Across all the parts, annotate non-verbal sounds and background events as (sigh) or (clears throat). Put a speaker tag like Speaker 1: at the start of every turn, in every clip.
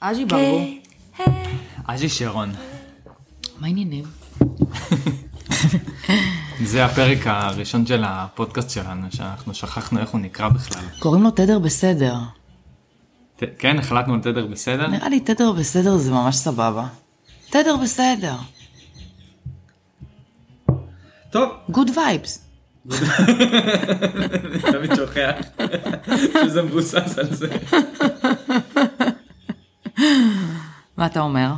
Speaker 1: אג'י ברבו.
Speaker 2: אג'י שרון.
Speaker 1: מה העניינים?
Speaker 2: זה הפרק הראשון של הפודקאסט שלנו, שאנחנו שכחנו איך הוא נקרא בכלל.
Speaker 1: קוראים לו תדר בסדר.
Speaker 2: ת- כן, החלטנו על תדר בסדר?
Speaker 1: נראה לי תדר בסדר זה ממש סבבה. תדר בסדר.
Speaker 2: טוב.
Speaker 1: גוד וייבס.
Speaker 2: תמיד שוכח שזה מבוסס על זה.
Speaker 1: מה אתה אומר?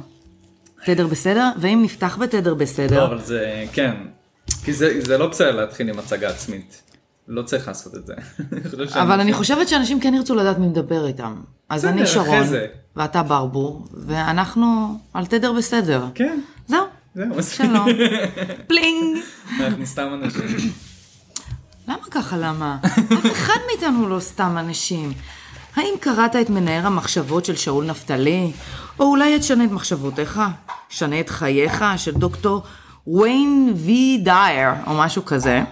Speaker 1: תדר בסדר? ואם נפתח בתדר
Speaker 2: לא,
Speaker 1: בסדר?
Speaker 2: אבל זה, כן. כי זה זה לא בסדר להתחיל עם הצגה עצמית. לא צריך לעשות את זה. אני חושב שאני-
Speaker 1: אבל אני חושבת שאנשים כן ירצו לדעת מי מדבר איתם. אז
Speaker 2: בסדר,
Speaker 1: אני
Speaker 2: אחרי
Speaker 1: שרון,
Speaker 2: זה.
Speaker 1: ואתה ברבור, ואנחנו על תדר בסדר.
Speaker 2: כן,
Speaker 1: זהו,
Speaker 2: זהו, מספיק. (laughs)
Speaker 1: שלום. פלינג.
Speaker 2: אנחנו סתם אנשים.
Speaker 1: למה ככה למה? (laughs) אף אחד מאיתנו לא סתם אנשים. האם קראת את מנער המחשבות של שאול נפתלי? או אולי את שנה את מחשבותיך? שנה את חייך של דוקטור ויין וי דייר, או משהו כזה.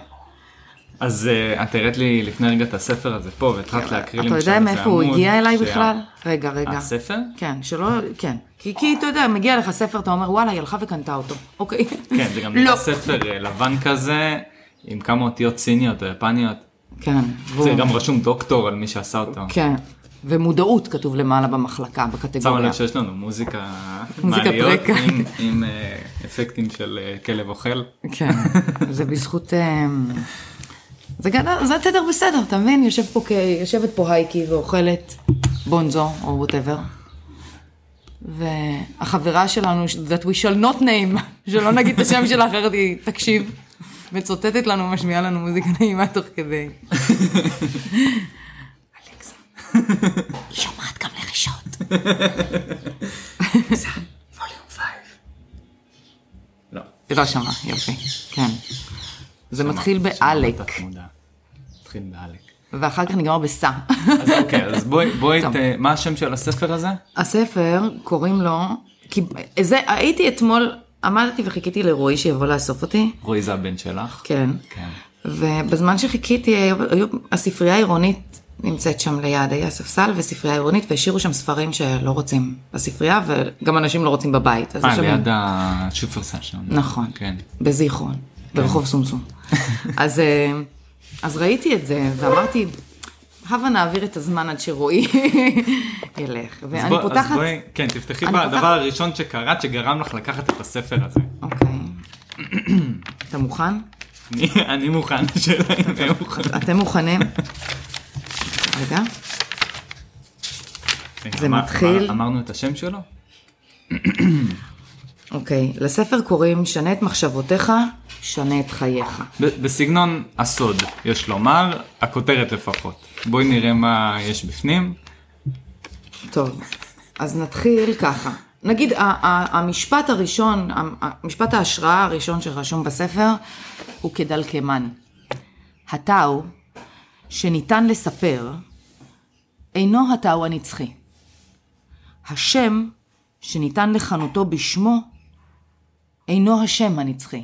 Speaker 2: אז אה, את הראת לי לפני רגע את הספר הזה פה, והתחלת להקריא לי
Speaker 1: אתה יודע
Speaker 2: איזה
Speaker 1: מאיפה הוא
Speaker 2: עמוד
Speaker 1: הגיע אליי
Speaker 2: שה-
Speaker 1: בכלל? רגע, רגע.
Speaker 2: הספר?
Speaker 1: כן, שלא, כן. כי, כי אתה יודע, מגיע לך ספר, אתה אומר, וואלה, היא הלכה וקנתה אותו. אוקיי.
Speaker 2: כן, זה גם
Speaker 1: לא.
Speaker 2: נראה ספר אה, לבן כזה, עם כמה אותיות סיניות או יפניות.
Speaker 1: כן.
Speaker 2: זה
Speaker 1: והוא-
Speaker 2: גם רשום דוקטור על מי שעשה אותו.
Speaker 1: כן. ומודעות כתוב למעלה במחלקה,
Speaker 2: שמה
Speaker 1: בקטגוריה.
Speaker 2: לב שיש לנו מוזיקה
Speaker 1: כן. (laughs) מוזיקת
Speaker 2: מעליות
Speaker 1: רקע.
Speaker 2: עם- עם אה, אפקטים של אה, כלב אוכל.
Speaker 1: כן, זה בזכות... אמ, זה, גדל, זה תדר בסדר, אתה מבין? יושב פה, כ- יושבת פה הייקי ואוכלת בונזו או ווטאבר. והחברה שלנו, that we shall not name, (laughs) שלא נגיד את השם שלה אחרת היא תקשיב, מצוטטת לנו, משמיעה לנו מוזיקה נעימה תוך כדי. אלכסה, היא (laughs) שומעת גם לחישות.
Speaker 2: לא.
Speaker 1: היא לא שמעה, יופי, כן. זה מתחיל
Speaker 2: לא,
Speaker 1: באלק,
Speaker 2: תת-מודע. מתחיל באלק.
Speaker 1: ואחר כך נגמר בסה.
Speaker 2: אז אוקיי, אז בואי, בואי,
Speaker 1: טוב.
Speaker 2: ת- מה השם של הספר הזה?
Speaker 1: הספר, קוראים לו, כי זה, הייתי אתמול, עמדתי וחיכיתי לרועי שיבוא לאסוף אותי,
Speaker 2: רועי זה הבן שלך.
Speaker 1: כן,
Speaker 2: כן.
Speaker 1: ובזמן שחיכיתי, היו, היו, הספרייה העירונית נמצאת שם ליד, היה ספסל וספרייה עירונית, והשאירו שם ספרים שלא רוצים בספרייה, וגם אנשים לא רוצים בבית. אז
Speaker 2: אה,
Speaker 1: יש שם-
Speaker 2: ליד השופרסל שם.
Speaker 1: נכון.
Speaker 2: כן.
Speaker 1: בזיכרון, ברחוב
Speaker 2: (laughs)
Speaker 1: סומסום. אז, אה, אז ראיתי את זה, ואמרתי, הבה נעביר את הזמן עד שרועי (laughs) ילך.
Speaker 2: אז
Speaker 1: ואני
Speaker 2: בוא- אז
Speaker 1: פותחת...
Speaker 2: בואי, כן, תפתחי
Speaker 1: אני
Speaker 2: בדבר
Speaker 1: פותחת-
Speaker 2: הראשון שקראת שגרם לך לקחת את הספר הזה.
Speaker 1: אוקיי. אתה מוכן?
Speaker 2: אני- אני מוכן, השאלה אם הם מוכנים.
Speaker 1: אתם
Speaker 2: (laughs)
Speaker 1: מוכנים? רגע. זה
Speaker 2: אמר-
Speaker 1: מתחיל-
Speaker 2: אמר- אמרנו את השם שלו?
Speaker 1: אוקיי. לספר קוראים שנה את מחשבותיך, שנה את חייך.
Speaker 2: ב- בסגנון הסוד, יש לומר, הכותרת לפחות. בואי נראה מה יש בפנים.
Speaker 1: טוב, אז נתחיל ככה. נגיד, ה- ה- המשפט הראשון, ה- ה- משפט ההשראה הראשון שרשום בספר, הוא כדלקמן. התאו שניתן לספר, אינו התאו הנצחי. השם שניתן לכנותו בשמו, אינו השם הנצחי.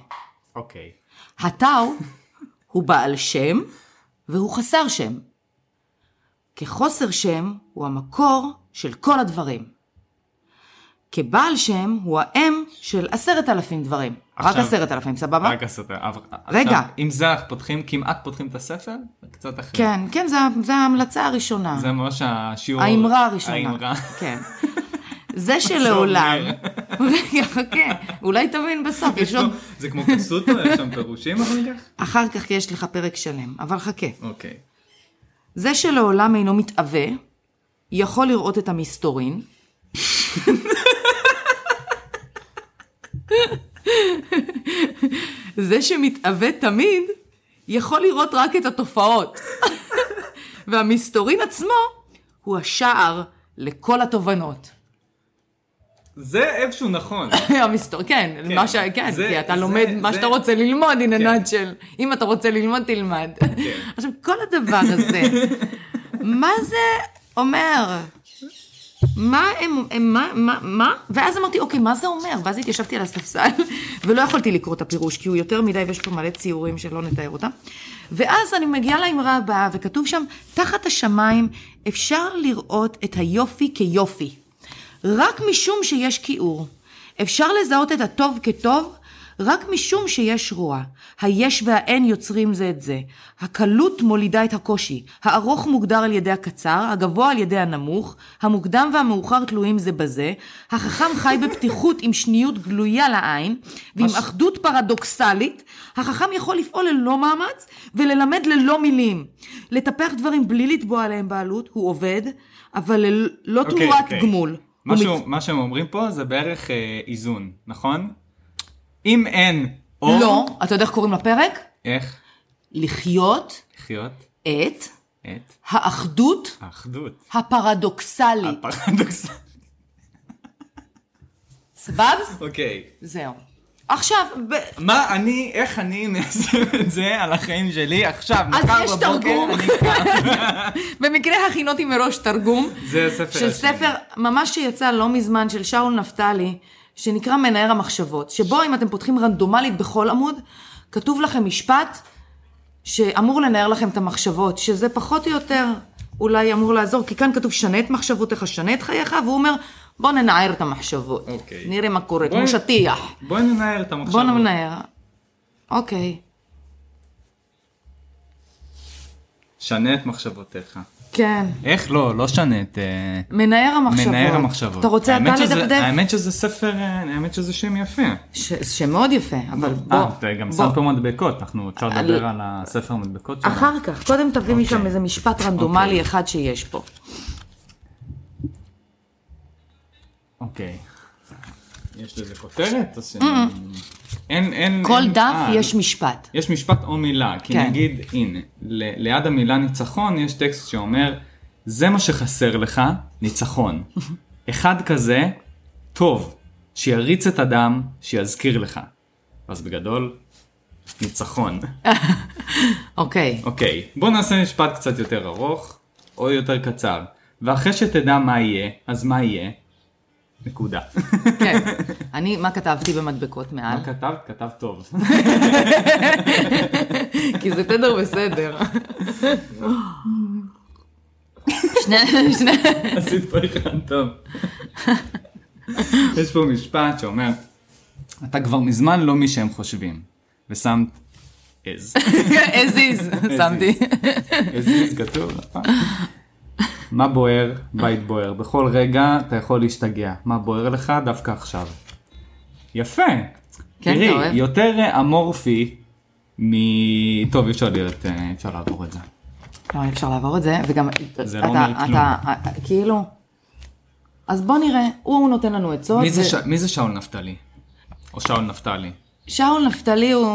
Speaker 2: אוקיי.
Speaker 1: התאו הוא בעל שם והוא חסר שם. כחוסר שם הוא המקור של כל הדברים. כבעל שם הוא האם של עשרת אלפים דברים. רק
Speaker 2: עכשיו-
Speaker 1: עשרת אלפים, סבבה?
Speaker 2: רק הסרטן.
Speaker 1: רגע.
Speaker 2: עם זה אנחנו פותחים, כמעט פותחים את הספר, קצת אחרי.
Speaker 1: כן, כן, זה, ה- זה ההמלצה הראשונה.
Speaker 2: זה ממש השיעור.
Speaker 1: האמרה הראשונה. (laughs)
Speaker 2: האמרה.
Speaker 1: כן.
Speaker 2: (laughs)
Speaker 1: זה שלעולם... רגע, (laughs) חכה, אולי תבין בסוף, יש עוד...
Speaker 2: זה כמו כסות, יש שם פירושים אחר כך?
Speaker 1: אחר כך יש לך פרק שלם, אבל חכה.
Speaker 2: אוקיי.
Speaker 1: זה שלעולם אינו מתאווה, יכול לראות את המסתורין. זה שמתאווה תמיד, יכול לראות רק את התופעות. והמסתורין עצמו הוא השער לכל התובנות.
Speaker 2: זה איפשהו נכון.
Speaker 1: (laughs) המסתור, כן,
Speaker 2: כן,
Speaker 1: מה ש... כן,
Speaker 2: זה-
Speaker 1: כי אתה
Speaker 2: זה-
Speaker 1: לומד מה
Speaker 2: זה-
Speaker 1: שאתה רוצה ללמוד, הנה
Speaker 2: כן.
Speaker 1: נאצ'ל. אם אתה רוצה ללמוד, תלמד. (laughs) עכשיו, כל הדבר
Speaker 2: (laughs)
Speaker 1: הזה, מה זה אומר? מה הם, הם מה, מה, מה? ואז אמרתי, אוקיי, מה זה אומר? ואז התיישבתי על הספסל, (laughs) ולא יכולתי לקרוא את הפירוש, כי הוא יותר מדי, ויש פה מלא ציורים שלא נתאר אותם. ואז אני מגיעה לאמרה הבאה, וכתוב שם, תחת השמיים אפשר לראות את היופי כיופי. רק משום שיש כיעור. אפשר לזהות את הטוב כטוב, רק משום שיש רוע. היש והאין יוצרים זה את זה. הקלות מולידה את הקושי. הארוך מוגדר על ידי הקצר, הגבוה על ידי הנמוך, המוקדם והמאוחר תלויים זה בזה. החכם חי בפתיחות עם שניות גלויה לעין, ועם אחדות פרדוקסלית. החכם יכול לפעול ללא מאמץ וללמד ללא מילים. לטפח דברים בלי לתבוע עליהם בעלות, הוא עובד, אבל ל- לא
Speaker 2: אוקיי,
Speaker 1: תמורת
Speaker 2: אוקיי.
Speaker 1: גמול.
Speaker 2: מה
Speaker 1: הוא
Speaker 2: שהוא- מה שהם אומרים פה זה בערך אה, איזון, נכון? אם אין אור...
Speaker 1: לא, אתה יודע איך קוראים לפרק?
Speaker 2: איך?
Speaker 1: לחיות
Speaker 2: לחיות
Speaker 1: את
Speaker 2: את
Speaker 1: האחדות
Speaker 2: האחדות.
Speaker 1: הפרדוקסלית.
Speaker 2: הפרדוקס.
Speaker 1: סבב?
Speaker 2: אוקיי.
Speaker 1: זהו. עכשיו, ב-
Speaker 2: מה אני, איך אני מיישם את זה על החיים שלי עכשיו,
Speaker 1: אז
Speaker 2: מחר
Speaker 1: יש
Speaker 2: בבוקר?
Speaker 1: תרגום.
Speaker 2: אני כבר-
Speaker 1: במקרה הכינותי מראש תרגום
Speaker 2: זה הספר
Speaker 1: של
Speaker 2: השני.
Speaker 1: ספר ממש שיצא לא מזמן, של שאול נפתלי, שנקרא מנער המחשבות, שבו אם אתם פותחים רנדומלית בכל עמוד, כתוב לכם משפט שאמור לנער לכם את המחשבות, שזה פחות או יותר אולי אמור לעזור, כי כאן כתוב שנה את מחשבותיך, שנה את חייך, והוא אומר, בוא ננער את המחשבות.
Speaker 3: אוקיי.
Speaker 1: נראה מה קורה,
Speaker 2: בואי-
Speaker 1: כמו שטיח.
Speaker 2: בוא ננער את המחשבות.
Speaker 1: בוא נמנער. אוקיי.
Speaker 2: שנה את מחשבותיך.
Speaker 1: כן.
Speaker 2: איך לא, לא שנה את... אה,
Speaker 1: מנער המחשבות.
Speaker 2: מנער המחשבות.
Speaker 1: אתה רוצה אתה
Speaker 2: האמת שזה-
Speaker 1: לדפדף?
Speaker 2: האמת שזה ספר, אה, האמת שזה שם יפה.
Speaker 1: ש- שמאוד יפה, אבל בוא.
Speaker 2: אה, אתה גם שם
Speaker 1: בוא.
Speaker 2: פה מדבקות, אנחנו אפשר
Speaker 1: אני-
Speaker 2: לדבר על הספר המדבקות שלנו.
Speaker 1: אחר כך, קודם תביא משם איזה משפט רנדומלי
Speaker 2: אוקיי.
Speaker 1: אחד שיש פה.
Speaker 2: אוקיי. יש לזה כותרת? או ש- אין, אין...
Speaker 1: כל
Speaker 2: אין-
Speaker 1: דף
Speaker 2: אה,
Speaker 1: יש משפט.
Speaker 2: יש משפט או מילה, כי
Speaker 1: כן.
Speaker 2: נגיד, הנה, ל- ליד המילה ניצחון יש טקסט שאומר, זה מה שחסר לך, ניצחון.
Speaker 1: (laughs)
Speaker 2: אחד כזה, טוב, שיריץ את הדם, שיזכיר לך. אז בגדול, ניצחון.
Speaker 1: אוקיי.
Speaker 2: אוקיי, בוא נעשה משפט קצת יותר ארוך, או יותר קצר. ואחרי שתדע מה יהיה, אז מה יהיה? נקודה. (laughs)
Speaker 1: כן. אני, מה כתבתי במדבקות מעל?
Speaker 2: מה (laughs) כתבת? כתבת טוב. (laughs) אוקיי.
Speaker 1: כי זה תדר
Speaker 2: (laughs)
Speaker 1: בסדר. שני, שני, (laughs)
Speaker 2: עשית פה אחד טוב. יש פה משפט שאומר, אתה כבר מזמן לא מי שהם חושבים. ושמת עז.
Speaker 1: as is, שמתי.
Speaker 2: עז עז כתוב. נכון? מה בוער? בית בוער. בכל רגע אתה יכול להשתגע. מה בוער לך? דווקא עכשיו. יפה.
Speaker 1: כן, אתה
Speaker 2: תראי,
Speaker 1: אוהב?
Speaker 2: יותר אה, אמורפי מ... טוב, אי אפשר להיות, אה, אי אפשר לעבור את זה.
Speaker 1: לא, אי אפשר לעבור את זה, וגם
Speaker 2: זה
Speaker 1: אתה,
Speaker 2: לא אומר כלום.
Speaker 1: אתה, אתה- כאילו, אז בוא נראה, הוא נותן לנו עצות.
Speaker 2: מי זה
Speaker 1: ו-
Speaker 2: ש- מי זה שאול נפתלי? או שאול נפתלי?
Speaker 1: שאול נפתלי הוא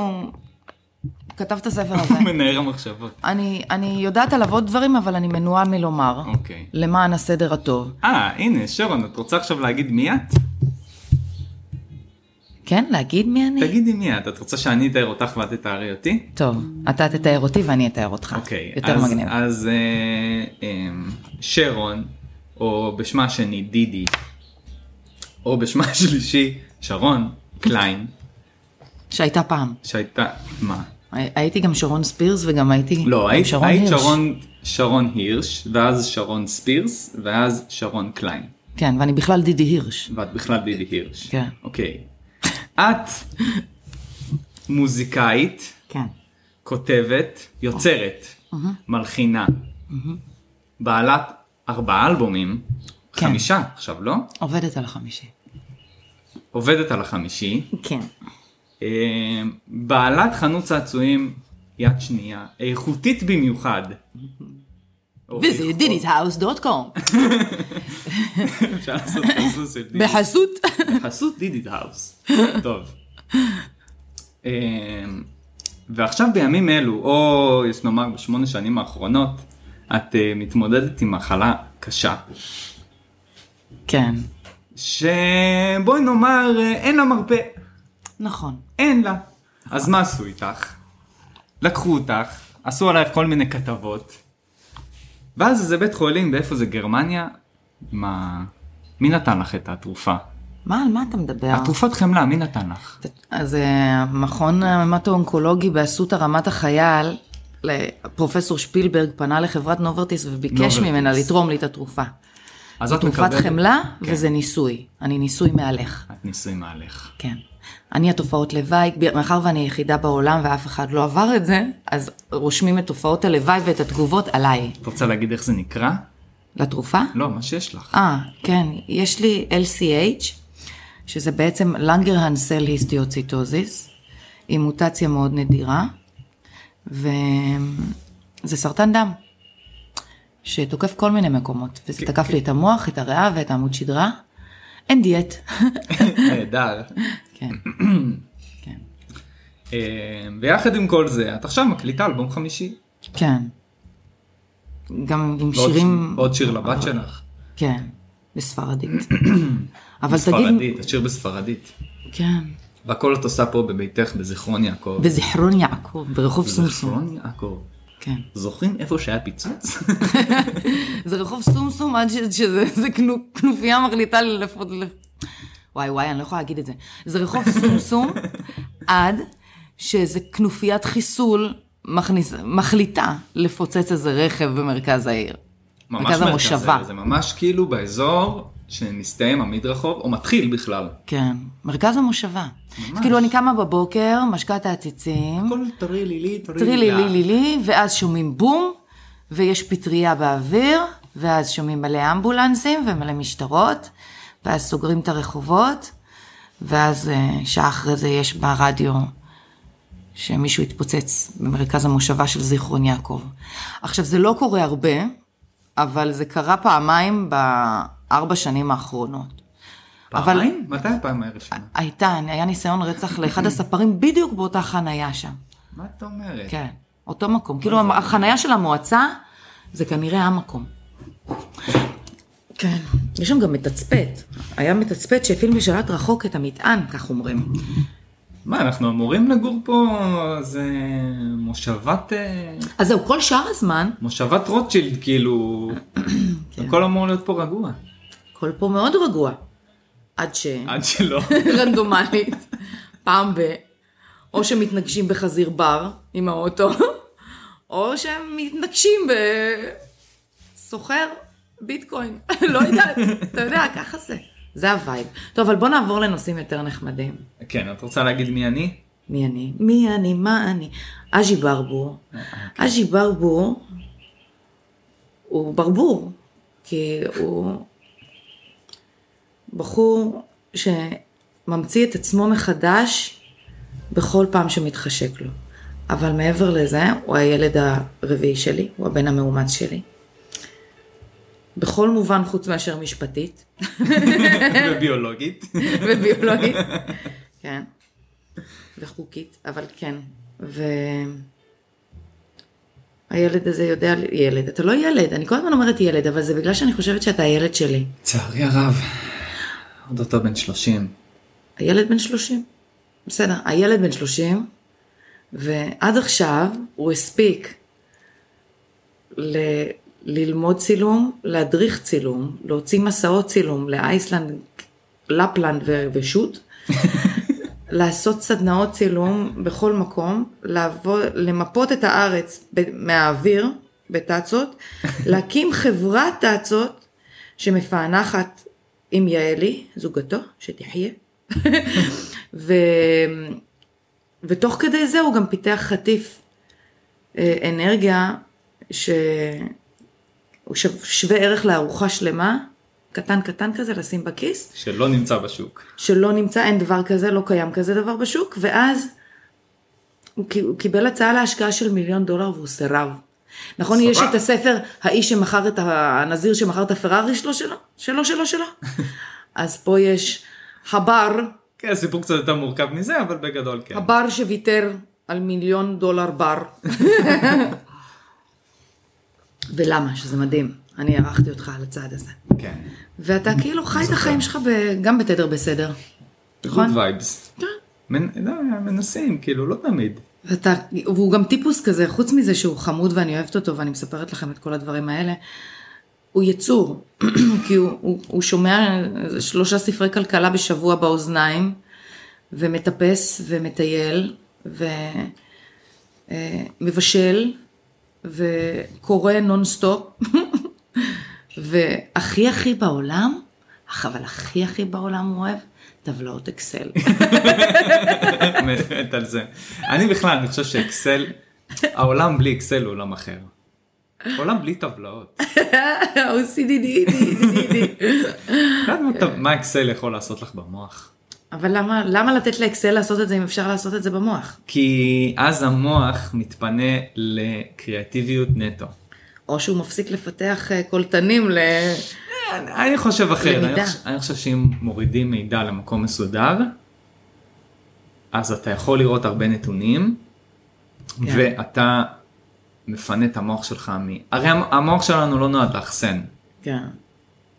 Speaker 1: כתב את הספר הזה.
Speaker 2: הוא מנער המחשבות.
Speaker 1: אני, אני יודעת עליו עוד דברים, אבל אני מנועה מלומר.
Speaker 2: אוקיי.
Speaker 1: למען הסדר הטוב.
Speaker 2: אה, הנה, שרון, את רוצה עכשיו להגיד מי את?
Speaker 1: כן, להגיד מי אני?
Speaker 2: תגידי מי את. את רוצה שאני אתאר אותך ואת תתארי אותי?
Speaker 1: טוב, אתה תתאר אותי ואני אתאר אותך.
Speaker 2: אוקיי.
Speaker 1: יותר
Speaker 2: אז-
Speaker 1: מגניב.
Speaker 2: אז אה, אמ, שרון, או בשמה השני דידי, או בשמה השלישי שרון קליין,
Speaker 1: שהייתה פעם.
Speaker 2: שהייתה... מה?
Speaker 1: הי- הייתי גם שרון ספירס וגם הייתי... גם
Speaker 2: לא, היית
Speaker 1: שרון
Speaker 2: היית
Speaker 1: הירש.
Speaker 2: שרון- שרון הירש, ואז שרון ספירס, ואז שרון קליין.
Speaker 1: כן, ואני בכלל דידי הירש.
Speaker 2: ואת בכלל דידי הירש.
Speaker 1: כן.
Speaker 2: אוקיי. את מוזיקאית.
Speaker 1: כן.
Speaker 2: כותבת, יוצרת, מלחינה, בעלת ארבעה אלבומים,
Speaker 1: כן.
Speaker 2: חמישה עכשיו לא?
Speaker 1: עובדת על החמישי.
Speaker 2: עובדת על החמישי,
Speaker 1: כן.
Speaker 2: אה, בעלת חנות צעצועים יד שנייה, איכותית במיוחד. או
Speaker 1: וזה
Speaker 2: איכות-
Speaker 1: דידי'shouse.com.
Speaker 2: אפשר לעשות (laughs) חסות של דידי.
Speaker 1: בחסות.
Speaker 2: בחסות דידיט האוס. טוב. אה, ועכשיו בימים אלו, או יש נאמר בשמונה שנים האחרונות, את אה, מתמודדת עם מחלה קשה,
Speaker 1: (laughs) כן.
Speaker 2: שבואי נאמר אה, אין לה מרפא,
Speaker 1: נכון.
Speaker 2: אין לה. אז מה עשו איתך? לקחו אותך, עשו עלייך כל מיני כתבות, ואז איזה בית חולים, באיפה זה, גרמניה? מה... מי נתן לך את התרופה?
Speaker 1: מה, על מה אתה מדבר?
Speaker 2: התרופת חמלה, מי נתן לך?
Speaker 1: אז אה, המכון המטו-אונקולוגי באסותא רמת החייל, ל- פרופסור שפילברג פנה לחברת נוברטיס וביקש
Speaker 2: נוברטיס.
Speaker 1: ממנה לתרום לי את התרופה.
Speaker 2: אז את
Speaker 1: תנופת
Speaker 2: מקבלת-
Speaker 1: חמלה,
Speaker 2: כן.
Speaker 1: וזה ניסוי. אני ניסוי מהלך.
Speaker 2: את ניסוי מהלך.
Speaker 1: כן. אני התופעות לוואי, ב- מאחר ואני היחידה בעולם ואף אחד לא עבר את זה, אז רושמים את תופעות הלוואי ואת התגובות עליי.
Speaker 2: את רוצה להגיד איך זה נקרא?
Speaker 1: לתרופה?
Speaker 2: לא, מה שיש לך.
Speaker 1: אה, כן, יש לי LCH, שזה בעצם לנגרהן סל היסטיוציטוזיס, היא מוטציה מאוד נדירה, וזה סרטן דם, שתוקף כל מיני מקומות, וזה תקף לי את המוח, את הריאה ואת העמוד שדרה. אין דיאט.
Speaker 2: נהדר.
Speaker 1: אה.
Speaker 2: (clears throat)
Speaker 1: כן, כן,
Speaker 2: אה, ויחד עם כל זה, את עכשיו מקליטה אלבום חמישי.
Speaker 1: כן. גם עם
Speaker 2: ועוד-
Speaker 1: שירים,
Speaker 2: עוד שיר לבת שלך.
Speaker 1: כן, בספרדית. אבל תגיד,
Speaker 2: בספרדית, את שיר בספרדית.
Speaker 1: כן,
Speaker 2: והכל את עושה פה בביתך בזיכרון יעקב.
Speaker 1: בזיכרון יעקב, ברחוב סומסום.
Speaker 2: בזיכרון יעקב.
Speaker 1: כן.
Speaker 2: זוכרים איפה שהיה
Speaker 1: (laughs)
Speaker 2: פיצוץ?
Speaker 1: זה רחוב סומסום עד ש- שזה זה כנו- כנופיה מחליטה ללפות... ל- וואי וואי, אני לא יכולה להגיד את זה. זה רחוב סומסום עד שאיזה כנופיית חיסול מכניס, מחליטה לפוצץ איזה רכב במרכז העיר.
Speaker 2: ממש
Speaker 1: מרכז
Speaker 2: מרכז
Speaker 1: המושבה.
Speaker 2: העיר, זה ממש כאילו באזור שמסתיים המדרחוב, או מתחיל בכלל.
Speaker 1: כן, מרכז המושבה. כאילו אני קמה בבוקר, משקה את העציצים,
Speaker 2: הכל טרי לילי,
Speaker 1: טרי לי לי לי לי, ואז שומעים בום, ויש פטריה באוויר, ואז שומעים מלא אמבולנסים ומלא משטרות, ואז סוגרים את הרחובות, ואז אה, שעה אחרי זה יש ברדיו שמישהו התפוצץ במרכז המושבה של זיכרון יעקב. עכשיו, זה לא קורה הרבה, אבל זה קרה פעמיים בארבע שנים האחרונות.
Speaker 2: פעמיים? מתי הפעם הראשונה?
Speaker 1: הייתה, היה ניסיון רצח לאחד הספרים בדיוק באותה חנייה שם.
Speaker 2: מה את אומרת?
Speaker 1: כן, אותו מקום. כאילו החנייה של המועצה, זה כנראה המקום. כן, יש שם גם מתצפת. היה מתצפת שהפעיל משלט רחוק את המטען, כך אומרים.
Speaker 2: מה, אנחנו אמורים לגור פה, זה מושבת, אה,
Speaker 1: אז זהו, כל שאר הזמן,
Speaker 2: מושבת רוטשילד,
Speaker 1: (coughs)
Speaker 2: כאילו,
Speaker 1: כן.
Speaker 2: הכל אמור להיות פה רגוע.
Speaker 1: הכל פה מאוד רגוע. עד ש...
Speaker 2: עד שלא.
Speaker 1: (laughs) רנדומלית, פעם ב... או שמתנגשים בחזיר בר עם האוטו, או שהם מתנגשים בסוחר ביטקוין. לא יודעת, אתה יודע, ככה זה. זה הווייב. טוב, אבל בוא נעבור לנושאים יותר נחמדים.
Speaker 2: כן, את רוצה להגיד
Speaker 1: (laughs)
Speaker 2: מי אני?
Speaker 1: מי אני? מי אני? מה אני? אג'י ברבור. אג'י ברבור הוא ברבור, כי הוא בחור שממציא את עצמו מחדש בכל פעם שמתחשק לו. אבל מעבר לזה, הוא הילד הרביעי שלי, הוא הבן המאומץ שלי. בכל מובן חוץ מאשר משפטית
Speaker 2: וביולוגית.
Speaker 1: (laughs) וביולוגית. כן. וחוקית, אבל כן. ו... הילד הזה יודע, ילד, אתה לא ילד, אני כל הזמן אומרת ילד, אבל זה בגלל שאני חושבת שאתה הילד שלי.
Speaker 2: לצערי הרב, עוד אותו בן 30.
Speaker 1: הילד בן 30. בסדר, הילד בן 30, ועד עכשיו הוא הספיק ל... ללמוד צילום, להדריך צילום, להוציא מסעות צילום לאיסלנד, לפלנד ו... ושות, לעשות סדנאות צילום בכל מקום, לעבוד, למפות את הארץ ב... מהאוויר בתצות, להקים חברת תצות שמפענחת עם יעלי, זוגתו, שתחיה. ו... ותוך כדי זה הוא גם פיתח חטיף אה, אנרגיה שהוא שו- שווה ערך לארוחה שלמה, קטן קטן כזה לשים בכיס,
Speaker 2: שלא נמצא בשוק.
Speaker 1: שלא נמצא, אין דבר כזה, לא קיים כזה דבר בשוק, ואז הוא קי- הוא קיבל הצעה להשקעה של מיליון דולר והוא סירב. נכון,
Speaker 2: סבבה.
Speaker 1: יש את הספר, האיש שמכר את ה- הנזיר שמכר את הפרארי שלו, שלו, שלו, שלו, שלו. אז פה יש הבר,
Speaker 2: כן, הסיפור קצת יותר מורכב מזה, אבל בגדול כן.
Speaker 1: הבר שוויתר על מיליון דולר בר. (laughs) ולמה? שזה מדהים. אני הערכתי אותך על הצעד הזה.
Speaker 2: כן.
Speaker 1: ואתה כאילו חי את החיים שלך ב- גם בתדר בסדר. נכון?
Speaker 2: גוד וייבס.
Speaker 1: כן.
Speaker 2: מנ- לא, מנסים, כאילו, לא תמיד. (laughs)
Speaker 1: ואתה, והוא גם טיפוס כזה, חוץ מזה שהוא חמוד ואני אוהבת אותו ואני מספרת לכם את כל הדברים האלה, הוא יצור, (clears throat) כי הוא, הוא, הוא שומע איזה שלושה ספרי כלכלה בשבוע באוזניים, ומטפס ומטייל, אה, ומבשל, וקורא נונסטופ, (laughs) והכי הכי בעולם, אך אבל הכי הכי בעולם הוא אוהב טבלאות אקסל. (laughs)
Speaker 2: מת על זה. אני בכלל, אני חושב שאקסל, העולם בלי אקסל הוא עולם אחר. עולם בלי טבלאות.
Speaker 1: OCDD.
Speaker 2: את יודעת לא מה טב- מה אקסל יכול לעשות לך במוח?
Speaker 1: אבל למה, למה לתת לאקסל לעשות את זה אם אפשר לעשות את זה במוח?
Speaker 2: כי אז המוח מתפנה לקריאטיביות נטו.
Speaker 1: או שהוא מפסיק לפתח אה, קולטנים ל...
Speaker 2: אני חושב אחרת,
Speaker 1: למידה.
Speaker 2: אני חושב, אני חושב שאם מורידים מידע למקום מסודר, אז אתה יכול לראות הרבה נתונים,
Speaker 1: כן.
Speaker 2: ואתה מפנה את המוח שלך מ... הרי המ- המוח שלנו לא נועד לאחסן,
Speaker 1: כן,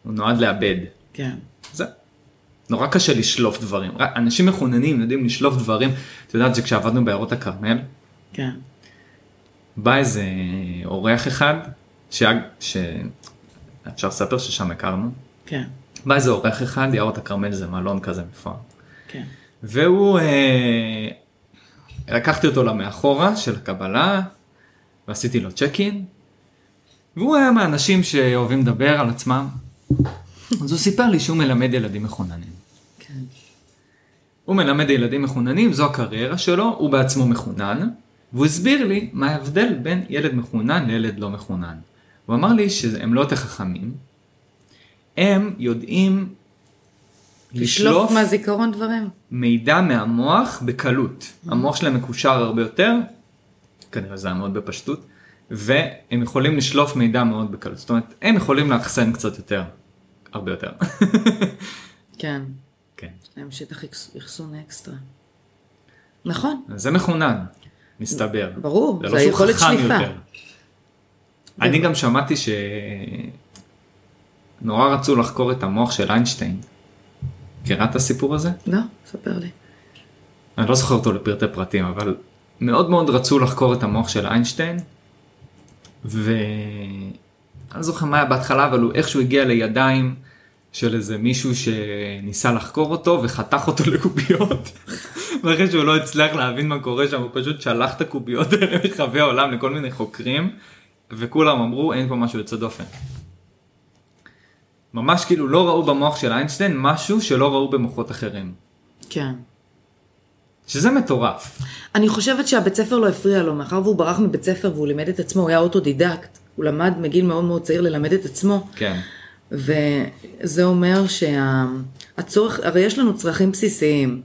Speaker 2: הוא נועד לאבד.
Speaker 1: כן.
Speaker 2: זה. נורא קשה לשלוף דברים, רק- אנשים מחוננים יודעים לשלוף דברים, את יודעת שכשעבדנו בעיירות הכרמל,
Speaker 1: כן.
Speaker 2: בא איזה אה, אורח אחד, שהיה, ש... אפשר לספר ששם הכרנו,
Speaker 1: כן,
Speaker 2: בא איזה אורח אחד, יערות הכרמל זה מלון כזה מפואר.
Speaker 1: כן.
Speaker 2: והוא, אה, לקחתי אותו למאחורה של הקבלה, ועשיתי לו צ'ק אין, והוא היה מהאנשים שאוהבים לדבר על עצמם. אז הוא סיפר לי שהוא מלמד ילדים מחוננים.
Speaker 1: כן.
Speaker 2: הוא מלמד ילדים מחוננים, זו הקריירה שלו, הוא בעצמו מחונן, והוא הסביר לי מה ההבדל בין ילד מחונן לילד לא מחונן. הוא אמר לי שהם לא יותר חכמים, הם יודעים
Speaker 1: לשלוף
Speaker 2: לשלוף
Speaker 1: מהזיכרון דברים.
Speaker 2: מידע מהמוח בקלות. המוח שלהם מקושר הרבה יותר, כנראה זה היה מאוד בפשטות, והם יכולים לשלוף מידע מאוד בקלות. זאת אומרת, הם יכולים לאחסן קצת יותר, הרבה יותר. (laughs)
Speaker 1: כן.
Speaker 2: כן.
Speaker 1: יש להם שטח אחס- אחסון אקסטרה. נכון,
Speaker 2: אז זה מחונן, מסתבר.
Speaker 1: ברור,
Speaker 2: לא
Speaker 1: זה
Speaker 2: שהוא
Speaker 1: היכולת
Speaker 2: חכם
Speaker 1: שליפה.
Speaker 2: יותר. אני גם שמעתי ש... נורא רצו לחקור את המוח של איינשטיין. מכירה את הסיפור הזה?
Speaker 1: לא? ספר לי.
Speaker 2: אני לא זוכר אותו לפרטי פרטים, אבל מאוד מאוד רצו לחקור את המוח של איינשטיין, ואני לא זוכר מה היה בהתחלה, אבל הוא איכשהו הגיע לידיים של איזה מישהו שניסה לחקור אותו וחתך אותו לקוביות, (laughs) ואחרי שהוא לא הצליח להבין מה קורה שם, הוא פשוט שלח את הקוביות (laughs) האלה לרחבי העולם לכל מיני חוקרים, וכולם אמרו אין פה משהו יוצא דופן. ממש כאילו לא ראו במוח של איינשטיין משהו שלא ראו במוחות אחרים,
Speaker 1: כן.
Speaker 2: שזה מטורף.
Speaker 1: אני חושבת שהבית ספר לא הפריע לו, מאחר והוא ברח מבית ספר והוא לימד את עצמו, הוא היה אוטודידקט. הוא למד מגיל מאוד מאוד צעיר ללמד את עצמו.
Speaker 2: כן.
Speaker 1: וזה אומר שהצורך, הרי יש לנו צרכים בסיסיים.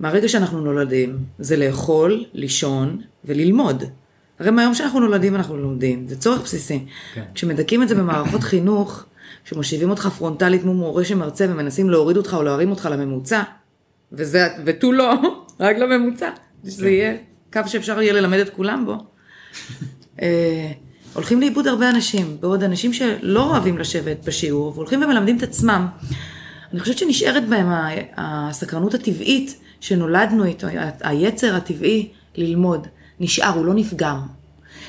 Speaker 1: מהרגע שאנחנו נולדים, זה לאכול, לישון וללמוד. הרי מהיום שאנחנו נולדים אנחנו לומדים, זה צורך בסיסי.
Speaker 2: כן.
Speaker 1: כשמדכאים את זה במערכות (coughs) חינוך, כשמושיבים אותך פרונטלית מול מורה שמרצה ומנסים להוריד אותך או להרים אותך לממוצע, וזה, ותו לא, (laughs) רק לממוצע, שזה יהיה קו שאפשר יהיה ללמד את כולם בו. אה, הולכים לאיבוד הרבה אנשים, בעוד אנשים שלא אוהבים לשבת בשיעור, והולכים ומלמדים את עצמם. אני חושבת שנשארת בהם ה- הסקרנות הטבעית שנולדנו איתו, ה- היצר הטבעי ללמוד, נשאר, הוא לא נפגם.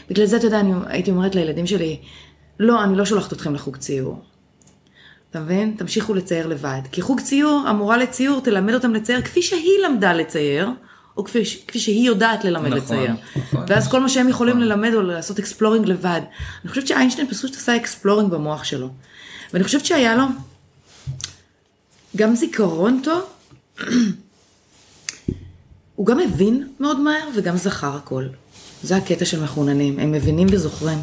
Speaker 1: בגלל זה, אתה יודע, אני הייתי אומרת לילדים שלי, לא, אני לא שולחת אתכם לחוג ציור. אתה מבין? תמשיכו לצייר לבד. כי חוג ציור, המורה לציור תלמד אותם לצייר כפי שהיא למדה לצייר, או כפי, ש- כפי שהיא יודעת ללמד
Speaker 2: נכון,
Speaker 1: לצייר.
Speaker 2: נכון.
Speaker 1: ואז כל מה שהם יכולים ללמד או לעשות אקספלורינג לבד. אני חושבת שאיינשטיין פשוט עשה אקספלורינג במוח שלו. ואני חושבת שהיה לו גם זיכרון טוב, הוא גם הבין מאוד מהר וגם זכר הכל. זה הקטע של מחוננים, הם מבינים וזוכרים.